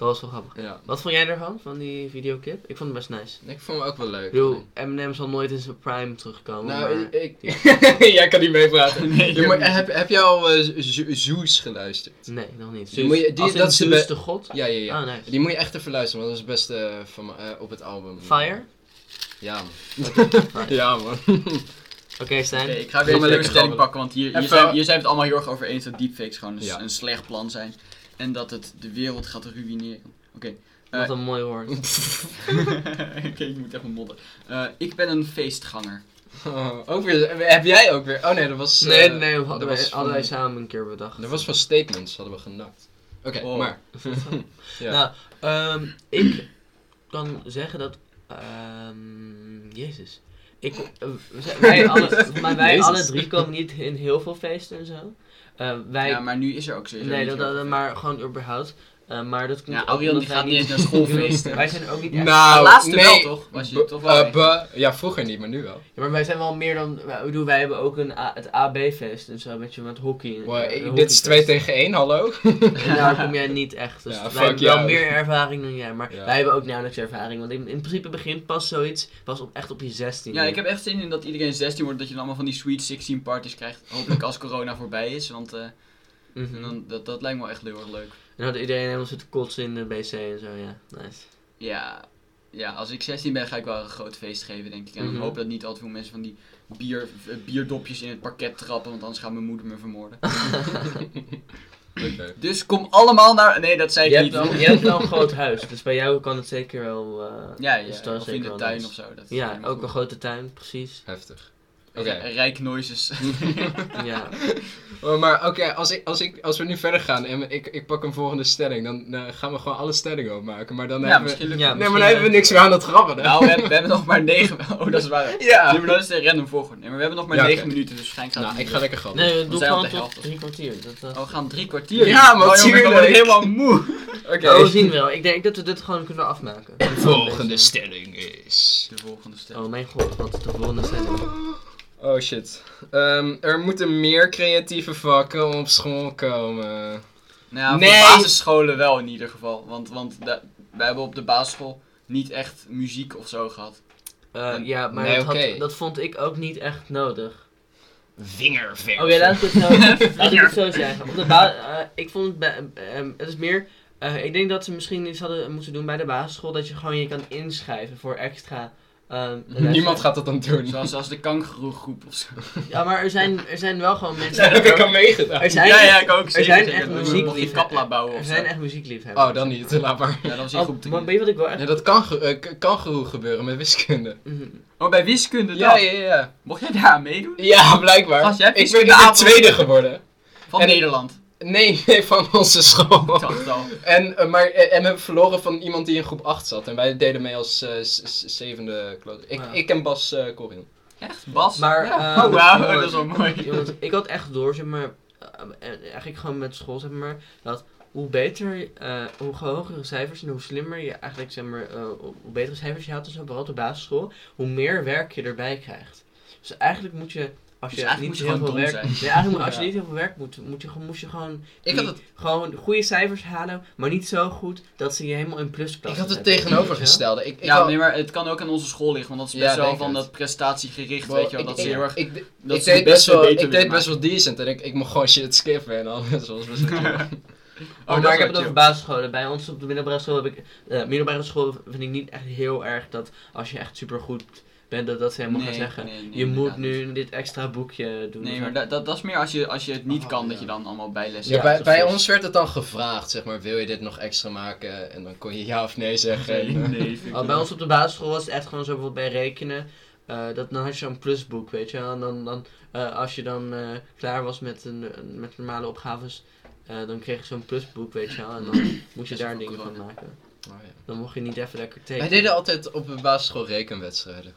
Dat was wel grappig.
ja.
Wat vond jij ervan, van die videoclip? Ik vond het best nice.
Ik vond hem ook wel leuk.
Ik bedoel, Eminem zal nooit in zijn prime terugkomen.
nou,
maar...
ik... Jij kan niet meepraten.
Nee,
Ja, maar
joh.
heb, heb jij al eh, Zo- Zeus geluisterd?
Nee, nog niet.
Die moet je- die-
Als in
dat is de
Zeus
be-
de god?
Ja, ja, ja.
Ah, nice.
Die moet je echt even luisteren, want dat is het beste eh, van, me- eh, op het album.
Fire?
Ja, man.
Nice.
ja, man.
Stijn.
Oké, ik ga
Doe maar
weer
lekker
een stelling
grabbelen.
pakken, want hier, hier,
Even-
zijn, hier zijn we het allemaal heel erg over eens dat deepfakes gewoon een, s-
Ja.
een slecht plan zijn. En dat het de wereld gaat ruïneren. Oké. eh,
Wat een mooi woord.
Oké, ik moet even modder. Eh, ik ben een feestganger.
Oh, ook weer, heb jij ook weer? Oh nee, dat was... eh,
Nee, nee, we
dat
hadden,
was
wij, hadden wij
van-
samen een keer bedacht.
Dat was van statements, hadden we genakt. Oké,
Oh.
maar... Ja.
Nou, ehm, ik kan zeggen dat. ehm, Jezus. Ik, eh, we zijn- wij alle, maar wij
Jezus.
alle drie komen niet in heel veel feesten en zo. Eh, wij,
ja, maar nu is er ook zoiets.
nee, dat, dat- maar gewoon überhaupt. Eh, maar dat komt
Ja,
ook
Ariel
omdat
die
wij
gaat niet eens naar schoolfeesten.
wij zijn ook niet echt.
Nou,
laatste
nee.
wel, toch? Was je
B-
toch wel
eh,
echt?
b- ja, vroeger niet, maar nu wel.
Ja, maar wij zijn wel meer dan. wij- Ik bedoel, wij hebben ook een A- het AB-feest en zo, met je met hockey. en-
Wow,
eh,
ik- dit is
hockeyfeest.
2 tegen 1, hallo?
En daar kom jij niet echt. Dus
Ja,
wij
fuck
hebben wel
jou.
meer ervaring dan jij. Maar
Ja.
wij hebben ook nauwelijks ervaring. Want in, in principe begint pas zoiets pas op, echt op je 16.
Ja, ik heb echt zin in dat iedereen 16 wordt, dat je dan allemaal van die Sweet 16 parties krijgt. Hopelijk als corona voorbij is, want eh,
Mhm.
en
En
dan, dat, dat lijkt me wel echt heel erg leuk.
dan had iedereen helemaal zitten kotsen in de wc en zo, ja. Nice.
Ja, ja, als ik 16 ben ga ik wel een groot feest geven, denk ik. En
Mhm.
ik hoop dat niet al te veel mensen van die bier, eh, bierdopjes in het parket trappen, want anders gaat mijn moeder me vermoorden.
Oké.
Dus kom allemaal naar... Nee, dat zei
Je
ik
hebt,
niet.
wel, je hebt wel een groot huis, dus bij jou kan het zeker wel... eh,
Ja,
is
ja,
het wel
of in
zeker
de
wel
tuin
nice.
of zo. Dat
Ja,
lijkt me
ook
goed.
een grote tuin, precies.
Heftig. Oké.
Oké. Rijk noises.
Ja.
Oh, maar oké, als, ik, als, ik, als we nu verder gaan en ik, ik pak een volgende stelling, dan eh, gaan we gewoon alle stellingen opmaken. Maar dan
ja,
hebben we...
misschien lukt
ja,
het.
Nee, maar
misschien
dan hebben we
leuk.
niks meer aan het grabbelen.
Nou, we hebben, we hebben nog maar 9. Oh, dat is waar.
ja.
Nee, maar dat is de random volgorde. Nee, maar we hebben nog maar
Ja,
9
oké.
minuten, dus waarschijnlijk gaat
Nou,
het
ik
niet
ga
lukken.
lekker grabbelen.
Nee, doe
zijn al
gewoon
de
tot
helft.
drie kwartier. Dat, eh, dat...
Oh, we gaan drie kwartier.
Ja,
Oh, jongen, Ik word
natuurlijk.
helemaal moe.
Oké.
Oh, we zien wel. Ik denk dat we dit gewoon kunnen afmaken.
De volgende stelling is...
De volgende stem.
Oh mijn god, wat is de volgende stelling?
Oh shit. Ehm, er moeten meer creatieve vakken op school komen.
Nou, voor
Nee.
basisscholen wel in ieder geval. Want, want da- wij hebben op de basisschool niet echt muziek of zo gehad.
Eh, ja, maar
Nee,
dat, had-
oké.
dat vond ik ook niet echt nodig.
Vingerverf.
Oké, laat ik het zo, laat ik het zo zeggen. Op de ba- eh, ik vond het, bij- ehm, het is meer. eh, ik denk dat ze misschien iets hadden moeten doen bij de basisschool. Dat je gewoon je kan inschrijven voor extra. ehm, lessen.
Mhm. Niemand gaat dat dan doen.
Zoals, zoals de kangeroegroep of zo.
Ja, maar er zijn, er zijn wel gewoon mensen.
Ja, dat heb ik aan meegedaan.
Er zijn,
ja, ja, ik ook.
er zijn echt
muziek. Mocht je
muziekliefhebbers.
kapla bouwen
er
of zo.
zijn echt muziekliefhebbers.
Oh, dan niet. Laat maar.
Ja, dat was in
Oh,
groep
maar
3.
weet je wat ik wel echt.
Ja, dat kan, ge- eh, k- kan genoeg gebeuren met wiskunde.
Mhm.
Oh, bij wiskunde
Ja,
ja,
ja, ja.
Mocht jij daar aan meedoen?
Ja, blijkbaar.
Gast, jij hebt
ik ben
wiskunde
niet de
avond.
tweede geworden.
Van
En-
Nederland.
Nee, nee, van onze
Ik
school.
dacht het al.
En, eh, maar, eh, en we hebben verloren van iemand die in groep 8 zat. En wij deden mee als eh, s- s- zevende klas. Ik,
Ja.
ik en Bas eh Corian.
Echt? Bas?
Maar.
Oh,
ehm,
wauw,
mooi.
dat is wel mooi.
Jongens, ik had echt door, zeg maar, eh, en eigenlijk gewoon met school, zeg maar, dat hoe beter, eh, hoe hogere cijfers en hoe slimmer je eigenlijk, zeg maar, eh, hoe betere cijfers je haalt en zo, vooral op de basisschool, hoe meer werk je erbij krijgt. Dus eigenlijk moet je, als je
Dus eigenlijk
niet
moet je
heel
gewoon
veel
dom
werk...
zijn.
Nee, eigenlijk moet- als je
Ja.
niet heel veel werk moet, moet je, gewoon- moest je gewoon,
Ik had, het,
gewoon goede cijfers halen, maar niet zo goed dat ze je helemaal in plusklassen
ik had het
zetten, weet je wel?
tegenovergestelde. Ik, ik
Ja,
had-
nee, maar het kan ook aan onze school liggen, want dat is
Ja,
best wel
denk
van
het.
dat prestatiegericht,
Wow,
weet je
ik-
wel. Dat
ik-
is heel erg...
ik,
Dat
ik
ze het
deed best
beste
wel,
beter
ik
willen
deed best wel decent en ik, ik mocht gewoon shit skippen en alles. Dat was best wel chill.
Oh,
maar
dat
ik
is
heb het
wel
over basisscholen. Bij ons op de middelbare school heb ik. eh, middelbare school vind ik niet echt heel erg dat als je echt supergoed bent, dat, dat ze helemaal gaan zeggen.
nee, nee,
je moet
inderdaad niet.
nu dit extra boekje doen.
Nee,
of
maar
zo.
dat, dat, dat is meer als je, als je het niet
Oh,
kan, dat
ja.
je dan allemaal bijlessen
Ja,
Ja,
bij, bij
precies.
ons werd het dan gevraagd, zeg maar, wil je dit nog extra maken? En dan kon je ja of nee zeggen.
Nee,
En, eh,
nee, vind ik
Al Oh, bij ons op de basisschool was het echt gewoon zo bijvoorbeeld bij rekenen. eh, dat, dan had je zo'n plusboek, weet je wel. En dan, dan, eh, als je dan eh, klaar was met, een, met normale opgaves, eh, dan kreeg je zo'n plusboek, weet je wel. En dan moest je
Dat is
daar
ook
dingen van
corona.
maken.
oh ja.
Dan mocht je niet even lekker tekenen.
Wij deden altijd op de basisschool rekenwedstrijden.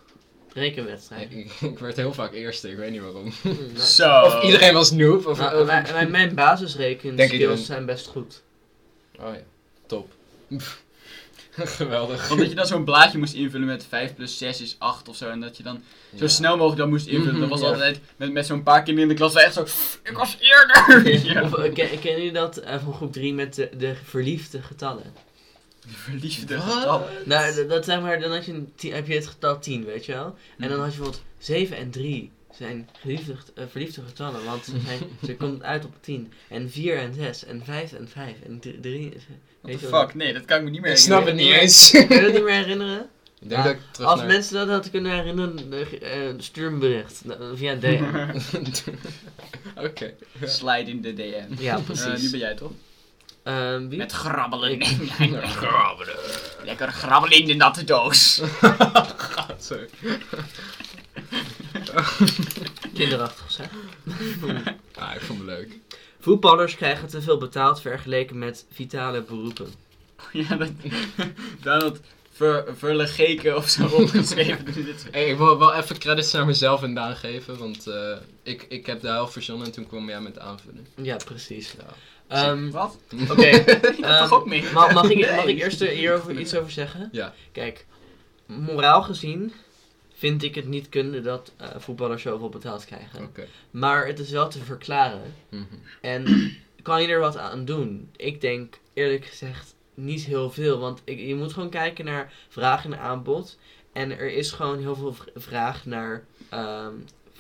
Rekenwedstrijd.
Ik, ik werd heel vaak eerste, ik weet niet waarom.
Mm, nou,
Zo.
Of iedereen was noob. Of,
nou,
of-
mijn, mijn- mijn
Denk ik
basisrekenskills
dan.
zijn best goed.
Oh ja, top. Geweldig.
Omdat je dan zo'n blaadje moest invullen met 5 plus 6 is 8 of zo. En dat je dan zo
Ja.
snel mogelijk dat moest invullen. Dat was
Ja.
altijd met, met zo'n paar kinderen in de klas. wij echt zo. Ik was eerder! Ja.
Of, eh, ken, kennen jullie dat eh, van groep 3 met de, de verliefde getallen?
Verliefde
Wat?
getal.
Nou, d- dat zeg maar, dan had je een ti- heb je het getal 10, weet je wel? En dan
Mhm.
had je bijvoorbeeld 7 en 3 zijn geliefde, get- eh, verliefde getallen, want ze, zijn, ze komt uit op 10. En 4 en 6, en 5 en 5, en eh, 3 is...
What the fuck? Nee, dat kan ik me niet meer
Ik snap het
herinneren.
niet eens. Ah,
Kun je dat niet meer herinneren?
Ik denk
Ja,
dat ik terug
Als
naar...
mensen dat, dat kunnen herinneren, eh, eh, stuur een bericht. eh, Via DM.
Oké.
Slide in de DM.
ja,
Eh, nu
precies.
ben jij toch?
Ehm, wie?
Met grabbelen.
Ik.
Lekker grabbelen in de natte doos.
Sorry.
Kinderachtig, zeg.
Ah, ik vond het leuk.
Voetballers krijgen te veel betaald vergeleken met vitale beroepen.
ja, dat... Dan had ver, verlegeken of zo opgeschreven. Dus dit-
Hey, ik wil wel even credits naar mezelf en Daan geven, want eh, ik, ik heb de helft verzonnen en toen kwam jij met de aanvulling.
Ja, precies.
Ja.
Ehm,
Wat?
Oké.
Ik had
Ehm,
toch ook mee?
Ma- mag, ik,
Nee.
mag ik eerst er hierover iets over zeggen?
Ja.
Kijk, moraal gezien vind ik het niet kunde dat eh, voetballers zoveel betaald krijgen.
Oké.
Maar het is wel te verklaren.
Mhm.
En kan je er wat aan doen? Ik denk eerlijk gezegd niet heel veel. Want ik, je moet gewoon kijken naar vraag en aanbod. En er is gewoon heel veel v- vraag naar ehm,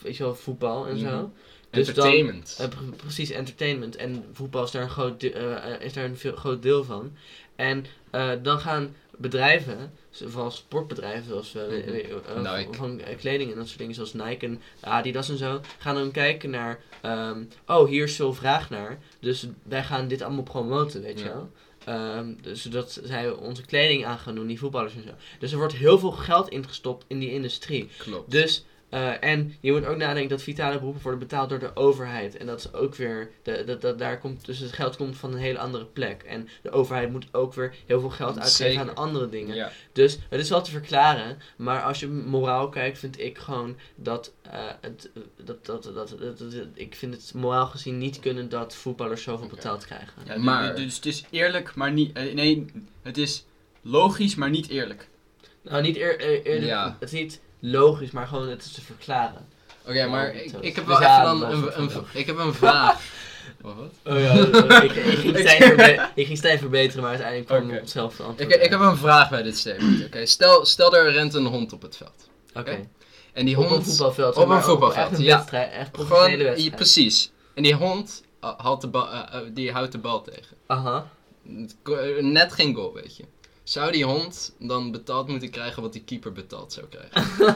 weet je wel, voetbal en
Mhm.
zo. Dus dan-
Entertainment.
Eh, pre- precies, entertainment. En voetbal is daar een groot, de- eh, eh, is daar een veel, groot deel van. En eh, dan gaan bedrijven, zo- vooral sportbedrijven zoals eh,
Mhm.
eh, eh,
Nike.
van eh, kleding en dat soort dingen zoals Nike en Adidas en zo, gaan dan kijken naar, ehm, oh hier is veel vraag naar, dus wij gaan dit allemaal promoten, weet je
Ja.
wel. Ehm, dus zodat zij onze kleding aan gaan doen, die voetballers en zo. Dus er wordt heel veel geld ingestopt in die industrie.
Klopt.
Dus, eh, en je moet ook nadenken dat vitale beroepen worden betaald door de overheid. En dat is ook weer, de, dat, dat, daar komt, dus het geld komt van een hele andere plek. En de overheid moet ook weer heel veel geld uitgeven
Zeker.
aan andere dingen.
Ja.
Dus het is wel te verklaren, maar als je moraal kijkt, vind ik gewoon dat, eh, het, dat, dat, dat, dat, dat- dat- ik vind het moraal gezien niet kunnen dat voetballers zoveel
Oké.
betaald krijgen.
Ja, dus-
Maar-
Dus het is eerlijk, maar niet... eh, nee, het is logisch, maar niet eerlijk.
Nou, niet eer, eer- eerlijk,
Ja.
het is niet logisch, maar gewoon het is te verklaren.
Oké, maar
Ja,
ik,
dat-
ik heb
dus
wel
ja,
even dan
dat was
een,
het
een,
vandaag.
ik heb een vraag. Oh, wat?
Oh ja, ik, ik, ging Stijn verbe- ik ging Stijn verbeteren, maar uiteindelijk kwam
Oké.
op hetzelfde
Ik,
antwoord.
ik heb
uit.
een vraag bij dit statement. Oké, stel, stel er rent een hond op het veld.
Oké.
oké. En die
Op een
hond.
voetbalveld.
op een
maar
voetbalveld,
echt een
ja.
wedstrijd, echt
gewoon,
professionele
ja,
wedstrijd.
precies. En die hond eh, houdt de bal, eh, eh, die houdt de bal tegen.
Aha.
Het ko- eh, Net geen goal, weet je. Zou die hond dan betaald moeten krijgen wat die keeper betaald zou krijgen?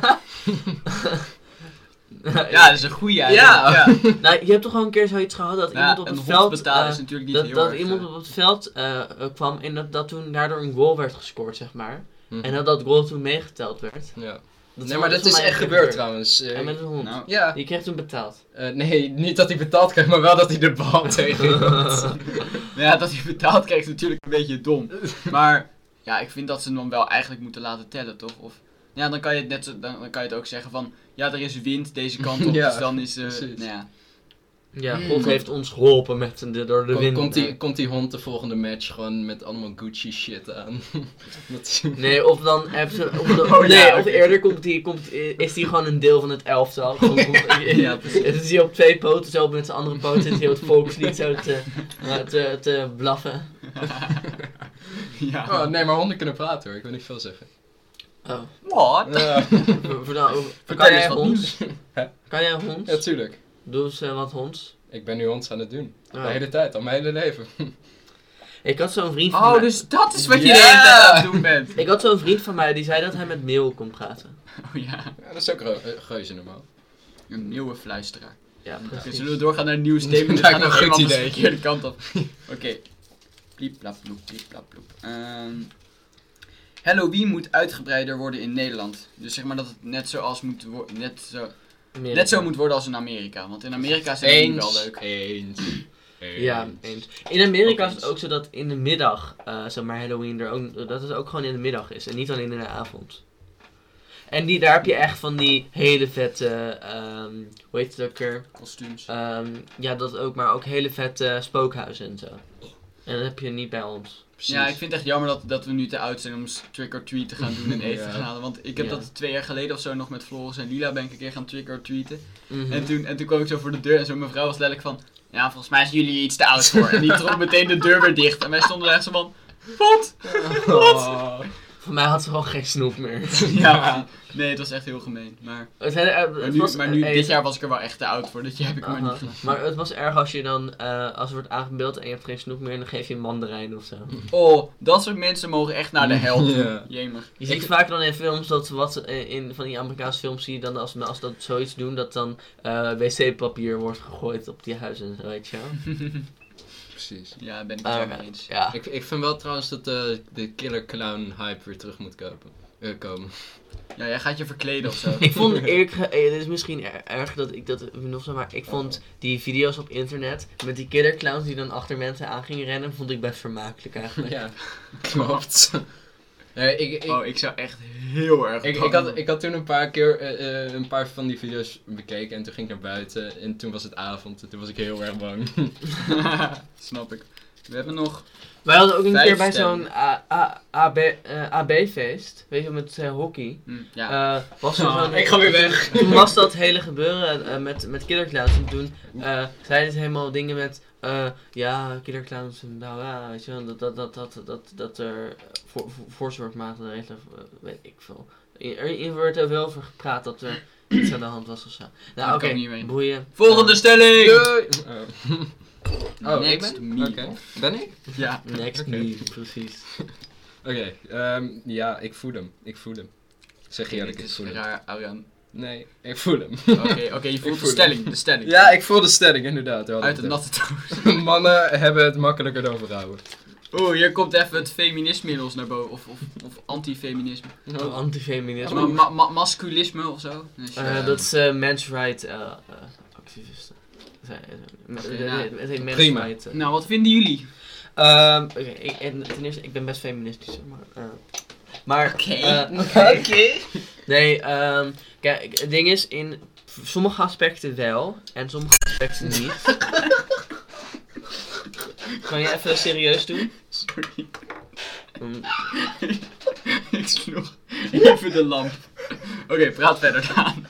Ja, dat is een goeie
Ja.
eigenlijk.
Nou, je hebt toch gewoon een keer zoiets gehad dat
Ja,
iemand op
een
het
hond
veld...
betalen
eh,
is natuurlijk niet
dat
heel
dat
erg,
iemand
eh,
op het veld eh, eh, kwam en dat, dat toen daardoor een goal werd gescoord, zeg maar.
Mhm.
En dat dat goal toen meegeteld werd.
Ja.
Dat
nee, maar dat
voor
is
mij
echt
een
gebeurd,
keer
trouwens. Eh,
En met een hond.
Nou,
Ja.
Die kreeg toen betaald.
Eh, nee, niet dat hij betaald krijgt, maar wel dat hij de bal tegen heeft.
Nou Ja, dat hij betaald krijgt is natuurlijk een beetje dom. Maar ja, ik vind dat ze hem dan wel eigenlijk moeten laten tellen, toch? Of, nou ja, dan kan, je het net zo, dan, dan kan je het ook zeggen van... Ja, er is wind deze kant op,
Ja,
dus dan is... eh,
precies.
nou ja.
Ja,
Hmm.
God heeft ons geholpen met de, door de
Kom-
wind.
komt, die, komt die hond de volgende match gewoon met allemaal Gucci shit aan? Omdat hij-
Nee, of dan heb ze. Of de-
Oh, ja,
nee, of
oké.
eerder komt die, komt, is die gewoon een deel van het elftal. Gewoon komt-
Ja, precies.
Dan is hij op twee poten zo, met zijn andere poten zit heel het volkslied zo te, eh, te, te blaffen.
ja.
Oh, nee, maar honden kunnen praten hoor, ik wil niet veel zeggen.
Oh,
Wat?
ver- vertel,
Vertel
kan
eens
jij
wat
honds?
nieuws.
Kan jij honds?
Ja, tuurlijk.
Doe eens eh, wat honds.
Ik ben nu hond aan het doen.
Oh.
De hele tijd, al mijn hele leven.
Ik had zo'n vriend van
Oh,
mij.
dus dat is wat je
Ja.
de hele tijd aan het doen bent.
Ik had zo'n vriend van mij die zei dat hij met meel kon praten.
Oh ja,
Ja, dat is ook reu- eh, reuze normaal.
een nieuwe fluisteraar.
Ja,
Oké,
precies.
zullen we doorgaan naar een nieuw statement?
Lijkt
We gaan
me
nog
een goed
helemaal de
idee.
verkeerde kant op. Oké. Plieplaploep, plieplaploep. Ehm, Halloween moet uitgebreider worden in Nederland. Dus zeg maar dat het net, zoals moet wo- net, zo,
Meer-
net zo moet worden als in Amerika. Want in Amerika zijn het wel
Eens.
leuk.
Eens. Eens.
Ja, eens. In Amerika
Ook
is het
eens.
ook zo dat in de middag, eh, zeg maar Halloween, er ook, dat het ook gewoon in de middag is en niet alleen in de avond. En die, daar heb je echt van die hele vette, ehm, hoe heet het ook weer?
Kostuums.
Ehm, ja, dat ook, maar ook hele vette spookhuizen en zo. En dat heb je niet bij ons.
Precies.
Ja, ik vind het echt jammer dat, dat we nu te oud zijn om s- trick or treat te gaan doen en eten
Ja.
te gaan halen. Want ik heb
Ja.
dat twee jaar geleden of zo nog met Floris en Lila ben ik een keer gaan trick or treaten.
Mhm.
En toen, en toen kwam ik zo voor de deur en zo'n mevrouw was letterlijk van... Ja, volgens mij zijn jullie hier iets te oud voor. En die trok meteen de deur weer dicht. En wij stonden daar echt zo van... Wat?
Oh.
Van mij had ze gewoon geen snoep meer.
ja, nee, het was echt heel gemeen. Maar,
Het, hele- eh, het
maar nu,
was-
maar nu
eh,
dit jaar was ik er wel echt te oud voor, dus je heb ik maar
Aha.
niet gedaan.
Maar het was erg als je dan, eh, als er wordt aangebeeld en je hebt geen snoep meer, dan geef je een mandarijn of zo.
Oh, dat soort mensen mogen echt naar de hel.
Ja.
Jemig.
Je ziet vaak dan in films dat wat ze in, in van die Amerikaanse films zie je dan als, als dat zoiets doen, dat dan eh, wc-papier wordt gegooid op die huizen en zo, weet je wel.
Precies.
Ja, ben ik het
Ah.
wel
Maar,
mee eens.
ja.
Ik, ik vind wel trouwens dat eh, de killer clown hype weer terug moet kopen. eh, komen.
Ja, jij gaat je verkleden of zo.
Ik vond eerlijk, ge- eh, dit is misschien er- erg dat ik dat nog zo, maar ik vond die video's op internet met die killer clowns die dan achter mensen aan gingen rennen, vond ik best vermakelijk eigenlijk.
Ja, klopt. Nee, ik, ik,
Oh, ik zou echt heel erg.
ik, ik, had, ik had toen een paar keer eh, eh, een paar van die video's bekeken en toen ging ik naar buiten en toen was het avond en toen was ik heel erg bang.
Snap ik. We hebben nog.
Wij hadden ook een
Vijf
keer bij
stemmen.
zo'n A- A- AB eh, AB-feest, weet je wel, met eh, hockey.
Hm, ja.
Ah,
Oh, Ah,
Eh, was er zo'n-
weg.
Toen was dat hele gebeuren eh, met, met Killer Clowns. En toen eh, zeiden ze helemaal dingen met... eh, ja, Killer Clowns, nou ja, weet je wel. Dat, dat, dat, dat, dat, dat er eh, voor, voor, voorzorgsmaatregelen, eh, weet ik veel. In, er, in werd er wel over gepraat dat er iets aan de hand was of zo. Nou,
ik
oké,
kan niet mee.
boeien.
Volgende
Eh,
stelling!
Doei! Oh, Oh, ik
Next
ben?
me.
Oké. Ben ik?
Ja.
next
Oké.
meme, precies.
Oké, ehm, ja, ik voel hem. Ik voel hem. Ik zeg eerlijk,
Dit
ik
is
voel hem.
raar, Arjan.
Nee, ik voel hem.
Oké, oké, je
voel
voelt de
hem.
stelling, de stelling.
Ja, ik voel de stelling, inderdaad. we hadden
Uit de
het
natte toon.
over. Mannen hebben het makkelijker dan vrouwen.
Oeh, hier komt even het feminisme in ons naar boven. Of, of, of antifeminisme.
Oh,
Is
Antifeminisme.
ma- ma- ma- masculisme of zo. Dus,
Eh,
ja.
dat is eh, men's right eh, eh, activisten. Zij- eh,
Oké,
eh,
nou,
eh, Het heet men's
prima.
right, eh.
Nou, wat vinden jullie?
Ehm, Oké, ik- en ten eerste, ik ben best feministisch, zeg maar. eh, maar. eh, nee, ehm, kijk, het ding is, in sommige aspecten wel en sommige aspecten niet. kan je even serieus doen?
Sorry,
Mm,
ik sloeg even de lamp. Oké, praat verder aan.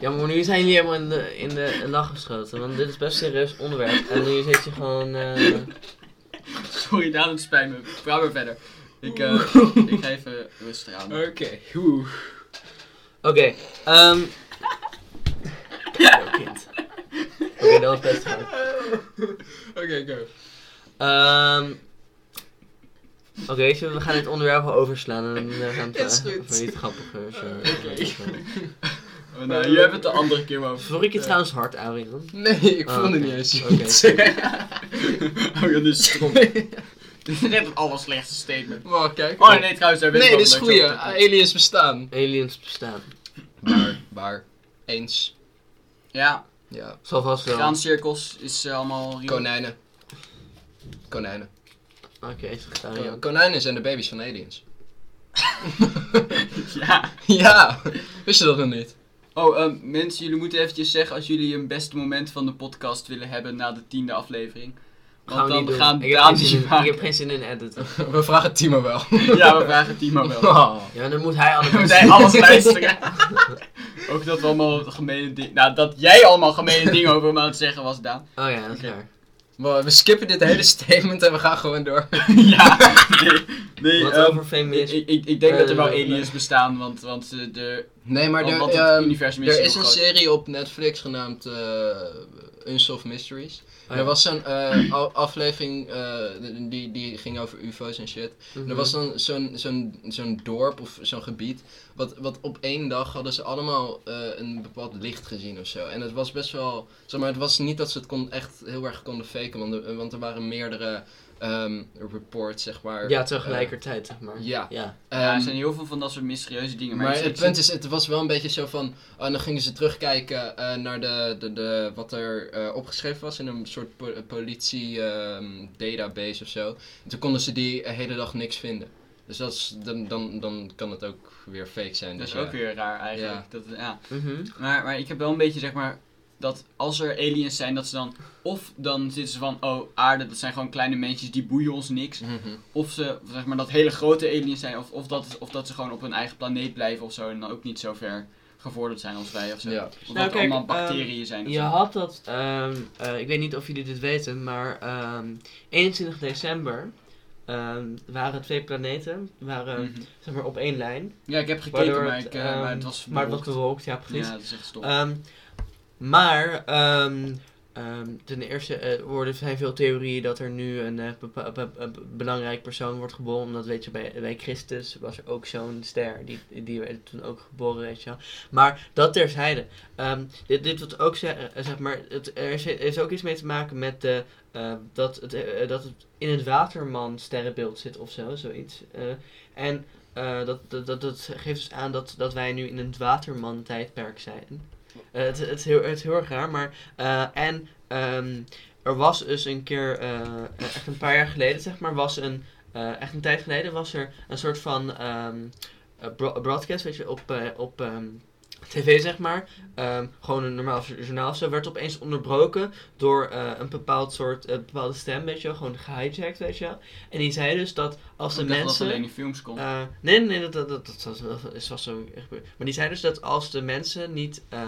Ja, maar nu zijn jullie helemaal in de, in de lach geschoten, want dit is best een serieus onderwerp. En nu zit je gewoon. eh,
Sorry, Daan, het spijt me. Praat maar verder. Ik, eh, ik ga even rustig aan.
Oké, oeh.
Oké, ehm. Oh, kind. Oké, dat was best goed.
Oké, go.
Ehm. Oké, zullen we we gaan dit onderwerp wel overslaan en dan gaan we
Is
het
goed.
eh, over iets grappiger. zo-
Oké.
Oh, nou, jullie hebben het de andere keer over.
Vond ik je
Eh,
trouwens hard, Arian?
Nee, ik
Ah,
voel het
oké.
niet eens.
Oké.
oh, dat is stom. Dit is net het allerslechtste statement.
Maar kijk.
Oh nee, trouwens, daar ben ik
nee
wel
dit is
een leuk
goeie.
over.
Aliens bestaan.
Aliens bestaan.
Waar, waar. Eens.
Ja,
Ja.
Zal vast wel. Oké,
graancirkels is eh, allemaal... real.
Konijnen. Konijnen.
is goed,
Ko-
Arian.
Konijnen zijn de baby's van aliens.
Ja.
ja, wist je dat nog niet?
Oh, ehm, mensen, jullie moeten eventjes zeggen als jullie een beste moment van de podcast willen hebben na de tiende aflevering. Want
Gaan we
dan
niet doen.
gaan
ik, heb geen
Daan die
zin in, ik
maken.
heb geen zin in editen.
We vragen Timo wel.
Ja, we vragen Timo wel.
Oh.
Ja, dan moet hij Oh aan de
We
beurt
zijn alles luisteren. Ook dat we allemaal gemene dingen... Nou, dat jij allemaal gemene dingen over me aan het zeggen was, Daan.
Oh ja, dat is
Oké.
waar.
Maar we skippen dit hele statement en we gaan gewoon door.
ja, nee. nee
Wat
ehm,
over
ik,
feminisme?
ik, ik denk dat er wel
Eh,
aliens bestaan, want, want eh, de,
Nee,
Oh,
maar er,
want het
ehm,
universum is
er
heel
is een
groot.
serie op Netflix genaamd eh Unsolved Mysteries.
Oh ja.
Er was zo'n eh, a- aflevering eh, die, die ging over UFO's en shit.
Mhm.
Er was dan zo'n zo'n zo'n dorp of zo'n gebied. Wat, wat op één dag hadden ze allemaal eh, een bepaald licht gezien of zo. En het was best wel. Zeg maar, het was niet dat ze het kon, echt heel erg konden faken. Want er, want er waren meerdere ehm, reports, zeg maar.
Ja, tegelijkertijd, zeg maar.
ja.
Ja.
Ehm,
Ja, er zijn heel veel van dat soort mysterieuze dingen. Maar,
maar
ik-
het
ik-
punt is, het was wel een beetje zo van. ah, dan gingen ze terugkijken eh, naar de, de, de, wat er eh, opgeschreven was in een soort po- politie-database of zo. En toen konden ze die de hele dag niks vinden. Dus dat is, dan, dan, dan kan het ook weer fake zijn.
Dat
Dus
is
ja.
eh,
ook weer raar eigenlijk.
Ja.
Dat, ja.
Mhm.
maar, maar ik heb wel een beetje zeg maar dat als er aliens zijn, dat ze dan. Of dan zitten ze van, oh aarde, dat zijn gewoon kleine mensjes die boeien ons niks.
Mhm.
Of ze, zeg maar, dat hele grote aliens zijn. Of, of, dat, of dat ze gewoon op hun eigen planeet blijven of zo. En dan ook niet zo ver gevorderd zijn als wij of zo.
Ja.
Of
Nou,
dat er
kijk,
allemaal
ehm,
bacteriën zijn. Of
Je
zo.
had dat, ehm, eh, ik weet niet of jullie dit weten, maar ehm, 21 december ehm, waren twee planeten, waren
Mhm.
zeg maar op één lijn.
Ja, ik heb gekeken,
Waardoor
maar, ik, eh,
ehm,
maar het was
maar het was
bewolkt.
bewolkt, ja precies.
Ja, dat is echt stom.
Ehm, maar ehm, ehm, ten eerste eh, worden, zijn veel theorieën dat er nu een, eh, bepa- be- be- be- belangrijk persoon wordt geboren. Omdat weet je, bij, bij Christus was er ook zo'n ster die, die werd toen ook geboren, weet je wel. Maar dat terzijde. Ehm, dit, dit wordt ook ze- eh, zeg maar, het, er is, er is ook iets mee te maken met de, eh, dat, het, eh, dat het in het Waterman sterrenbeeld zit of zo, zoiets. Eh, en eh, dat, dat, dat, dat geeft dus aan dat, dat wij nu in het Waterman tijdperk zijn. Eh, het, het, is heel, het is heel erg raar, maar. eh, en ehm, er was dus een keer, eh, echt een paar jaar geleden, zeg maar, was een. eh, echt een tijd geleden was er een soort van ehm, eh, bro- broadcast, weet je, op, eh, op ehm, tv, zeg maar. Ehm, gewoon een normaal jour- journaal of zo. Werd opeens onderbroken door eh, een bepaald soort, eh, bepaalde stem, weet je wel. Gewoon gehijacked, weet je wel. En die zei dus dat als de
ik dacht dat het
mensen.
alleen in films kon.
Eh, nee, nee, dat, dat, dat, dat, dat, dat is vast zo echt gebeurd. Maar die zei dus dat als de mensen niet, eh,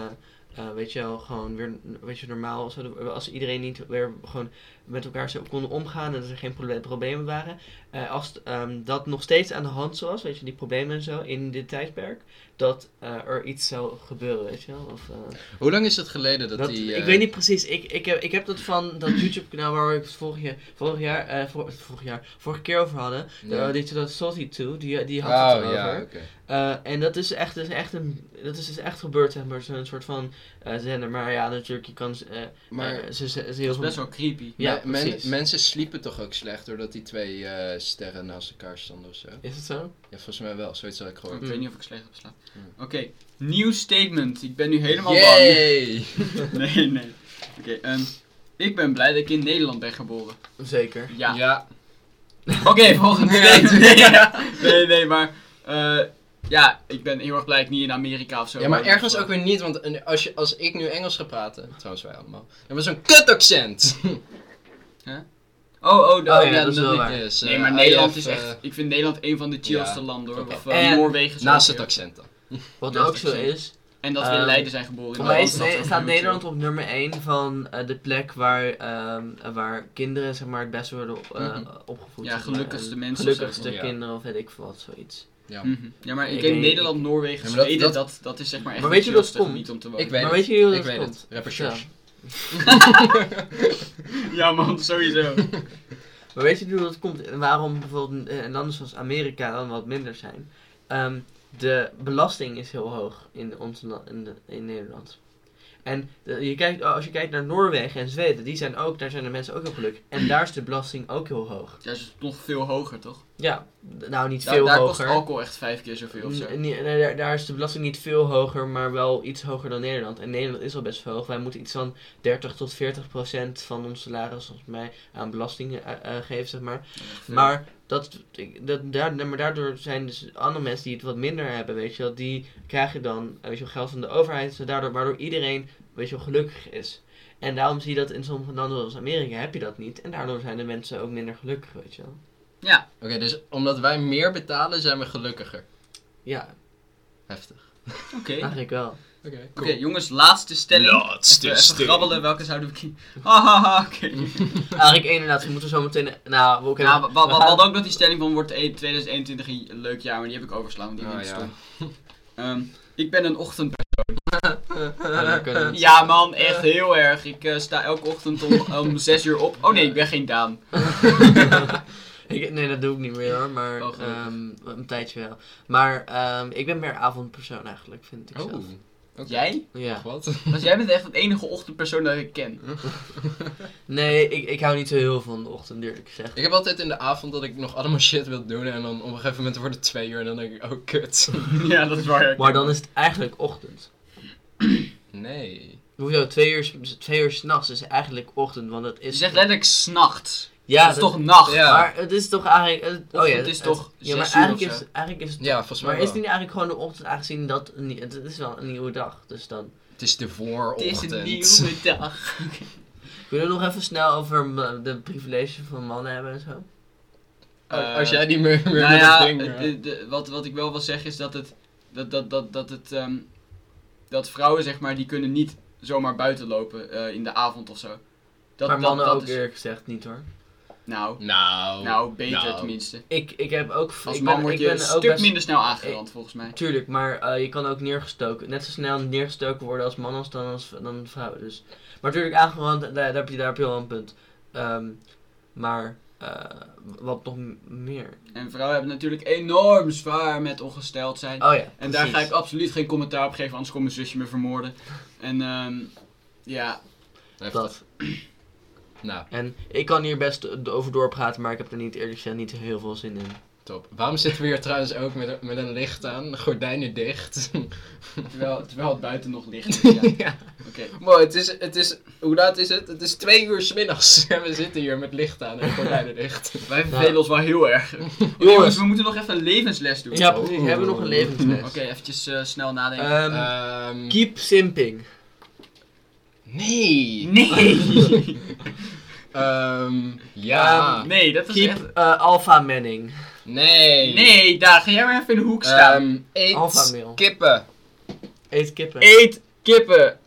eh, weet je wel, gewoon weer, weet je, normaal, zouden- als iedereen niet weer gewoon met elkaar zo konden omgaan en dat er geen proble- problemen waren, eh, als t- ehm, dat nog steeds aan de hand was, weet je, die problemen en zo, in dit tijdperk, dat eh, er iets zou gebeuren, weet je wel. Of, eh,
Hoe lang is het geleden dat,
dat-
die...
ik
eh,
weet niet precies. Ik, ik, heb, ik heb dat van dat YouTube-kanaal waar we het vorig jaar, vorig jaar, eh, vor- vorig jaar, vorige keer over hadden. De,
Ja.
oh, die 2002, die, die had het
eh, Oh,
erover.
ja, oké.
Eh, en dat is echt, dat is echt, een, dat is dus echt gebeurd, zeg maar. Zo'n soort van eh, zender. Maar ja, natuurlijk, je kan. eh,
Maar
eh, ze, ze, ze heel
dat is
veel-
best wel creepy.
Ja,
me- men-
precies.
mensen sliepen toch ook slecht doordat die twee eh, sterren naast elkaar stonden of zo?
Is het zo?
Ja, volgens mij wel. Zoiets had ik
Oh,
gehoord.
ik weet niet of ik slecht heb geslapen.
Hmm.
Oké, nieuw statement. Ik ben nu helemaal bang.
Yay!
Nee, nee. Oké, ehm, ik ben blij dat ik in Nederland ben geboren.
Zeker.
Ja.
ja.
Oké, volgende
Ja.
statement. Nee, nee, maar... eh, ja, ik ben heel erg blij dat ik niet in Amerika of zo...
Ja, maar
ben
ergens ook
geboren.
weer niet, want een- als, je, als ik nu Engels ga praten, trouwens wij allemaal, dan was zo'n kutaccent.
Oh, oh, dat-
Oh, ja, dat is wel
niet
waar.
is, eh,
Nee, maar
I
Nederland
have,
is
eh,
echt... Ik vind Nederland een van de chillste
ja,
landen, hoor.
klopt.
Of eh,
En-
Noorwegen. is
naast
ook
het
heel-
accent dan.
Wat
Dat
ook
is
zo
zo.
is.
En dat we in
Ehm,
Leiden zijn geboren.
Voor mij
Dat
is,
is ook heel
staat
chill.
Nederland op nummer 1 van eh, de plek waar, ehm, eh, waar kinderen zeg maar, het best worden eh,
Mhm.
opgevoed.
Ja,
zeg maar.
gelukkigste
En
mensen of
Gelukkigste
zo. Ja.
kinderen of weet ik veel wat, zoiets.
Ja.
Mhm. Ja, maar ik
Ik
denk
denk-
Nederland, Noorwegen,
Ja, maar dat-
Zweden, dat,
dat-
dat, is zeg maar echt
Maar weet
de
je hoe dat
chillste
komt?
niet om te wonen.
Ik weet
maar
het.
weet je hoe
ik
dat
weet
komt?
het. Rapper
Vertel.
Josh.
Ja man, sowieso.
Maar weet je hoe dat komt? En waarom bijvoorbeeld eh, landen zoals Amerika dan wat minder zijn? Ehm, de belasting is heel hoog in, ons, la- in, de- in Nederland. En de- je kijkt, oh, als je kijkt naar Noorwegen en Zweden, die zijn ook, daar zijn de mensen ook heel gelukkig. En daar is de belasting ook heel hoog.
Ja, is het nog veel hoger, toch?
Ja, d- nou niet
Daar,
veel
daar kost
hoger.
alcohol echt vijf keer zoveel of zo.
N- nee, nee, daar, daar is de belasting niet veel hoger, maar wel iets hoger dan Nederland. En Nederland is al best veel hoog. Wij moeten iets van 30 tot 40 procent van ons salaris, volgens mij, aan belasting eh, eh, geven, zeg maar. Maar, dat, ik- dat, daar, maar daardoor zijn dus andere mensen die het wat minder hebben, weet je wel. Die krijgen dan weet je wel, geld van de overheid, zo daardoor, waardoor iedereen weet je wel, gelukkig is. En daarom zie je dat in sommige landen zoals Amerika heb je dat niet. En daardoor zijn de mensen ook minder gelukkig, weet je wel.
Ja,
Oké, dus omdat wij meer betalen, zijn we gelukkiger.
Ja,
Heftig.
oké.
eigenlijk wel.
Oké,
Oké, jongens, laatste stelling.
Laatste
even, even
stelling.
grabbelen, welke zouden we kiezen? Hahaha, oké.
Eigenlijk inderdaad, we moeten zo meteen... Nou, we, oké,
Ja, wa- wa-
we
wa-
gaan-
wat ook dat die stelling van wordt e- 2021 een leuk jaar, maar die heb ik overslaan, want die
Oh,
vind ik
ja.
stom. Ehm, ik ben een ochtend...
dat kan niet.
Ja man, echt heel erg. Ik eh, sta elke ochtend om, om 6 uur op. Oh nee, ik ben geen Daan.
Ik- nee, dat doe ik niet meer hoor, maar
Oh, gelukkig.
ehm, een tijdje wel. Maar ehm, ik ben meer avondpersoon eigenlijk, vind ik
Oh,
zelf.
oké.
Jij?
Ja.
Wat?
Want jij bent echt het enige ochtendpersoon dat ik ken.
Nee, ik, ik hou niet zo heel van de ochtend, eerlijk gezegd.
Ik heb altijd in de avond dat ik nog allemaal shit wil doen en dan op een gegeven moment wordt het twee uur en dan denk ik, oh kut.
ja, dat is waar.
Maar dan is het eigenlijk ochtend.
Nee.
Hoezo? Twee uur, s- twee uur s'nachts is eigenlijk ochtend, want het
Je
is...
zegt letterlijk s'nachts.
ja,
dat is toch nacht?
ja.
Maar het is toch eigenlijk... het- oh ja,
het is toch
Ja, maar
zes uur
eigenlijk
of
is, eigenlijk is het...
Ja, volgens mij
Maar is het
wel.
niet eigenlijk gewoon de ochtend, aangezien dat... een nie- Het is wel een nieuwe dag, dus dan...
Het is de voorochtend.
Het is een nieuwe dag.
Kunnen we nog even snel over m- de privilege van mannen hebben en zo?
Oh,
Eh,
als jij die meer, meer
nou
met
ja,
het ding... eh.
het- de- de- wat, wat ik wel wil zeggen is dat het... Dat, dat, dat, dat, het ehm, dat vrouwen, zeg maar, die kunnen niet zomaar buiten lopen eh, in de avond of zo. Dat,
maar
dat-
mannen
dat
ook eh.
is-
eerlijk gezegd niet hoor.
Nou,
Nou.
nou beter
nou.
tenminste.
Ik, ik heb ook...
Als
ik
man
ben,
word
ik
je
ben
een
ook
stuk
best-
minder snel aangerand, volgens mij.
Tuurlijk, maar eh, je kan ook neergestoken. Net zo snel neergestoken worden als man als dan als dan vrouw. Dus. Maar natuurlijk, aangerand, daar, daar, heb je, daar heb je wel een punt. Ehm, maar eh, wat nog m- meer?
En vrouwen hebben natuurlijk enorm zwaar met ongesteld zijn.
Oh ja.
En daar ga
precies.
ik absoluut geen commentaar op geven, anders komt mijn zusje me vermoorden. En ehm, ja,
Heftig.
Dat.
Nou,
En ik kan hier best eh, over doorpraten, maar ik heb er niet eerlijk gezegd niet heel veel zin in.
top. Waarom zitten we hier trouwens ook met, met een licht aan? Gordijnen dicht.
terwijl, terwijl het buiten nog licht is. Ja.
ja.
Oké,
Wow, het is, het is, hoe laat is het? Het is twee uur smiddags en we zitten hier met licht aan en gordijnen dicht.
wij vervelen ons wel heel erg. Jongens,
Jongens,
we moeten nog even een levensles doen.
ja,
Oké,
precies. We hebben nog een levensles.
eventjes eh, snel nadenken.
Ehm,
Ehm,
keep simping.
nee.
nee!
Ehm, ja.
nee, dat is
Keep
echt...
eh, alpha manning.
Nee.
Nee, daar ga jij maar even in de hoek staan.
Ehm, eet
Alpha male.
kippen.
Eet kippen.
Eet kippen.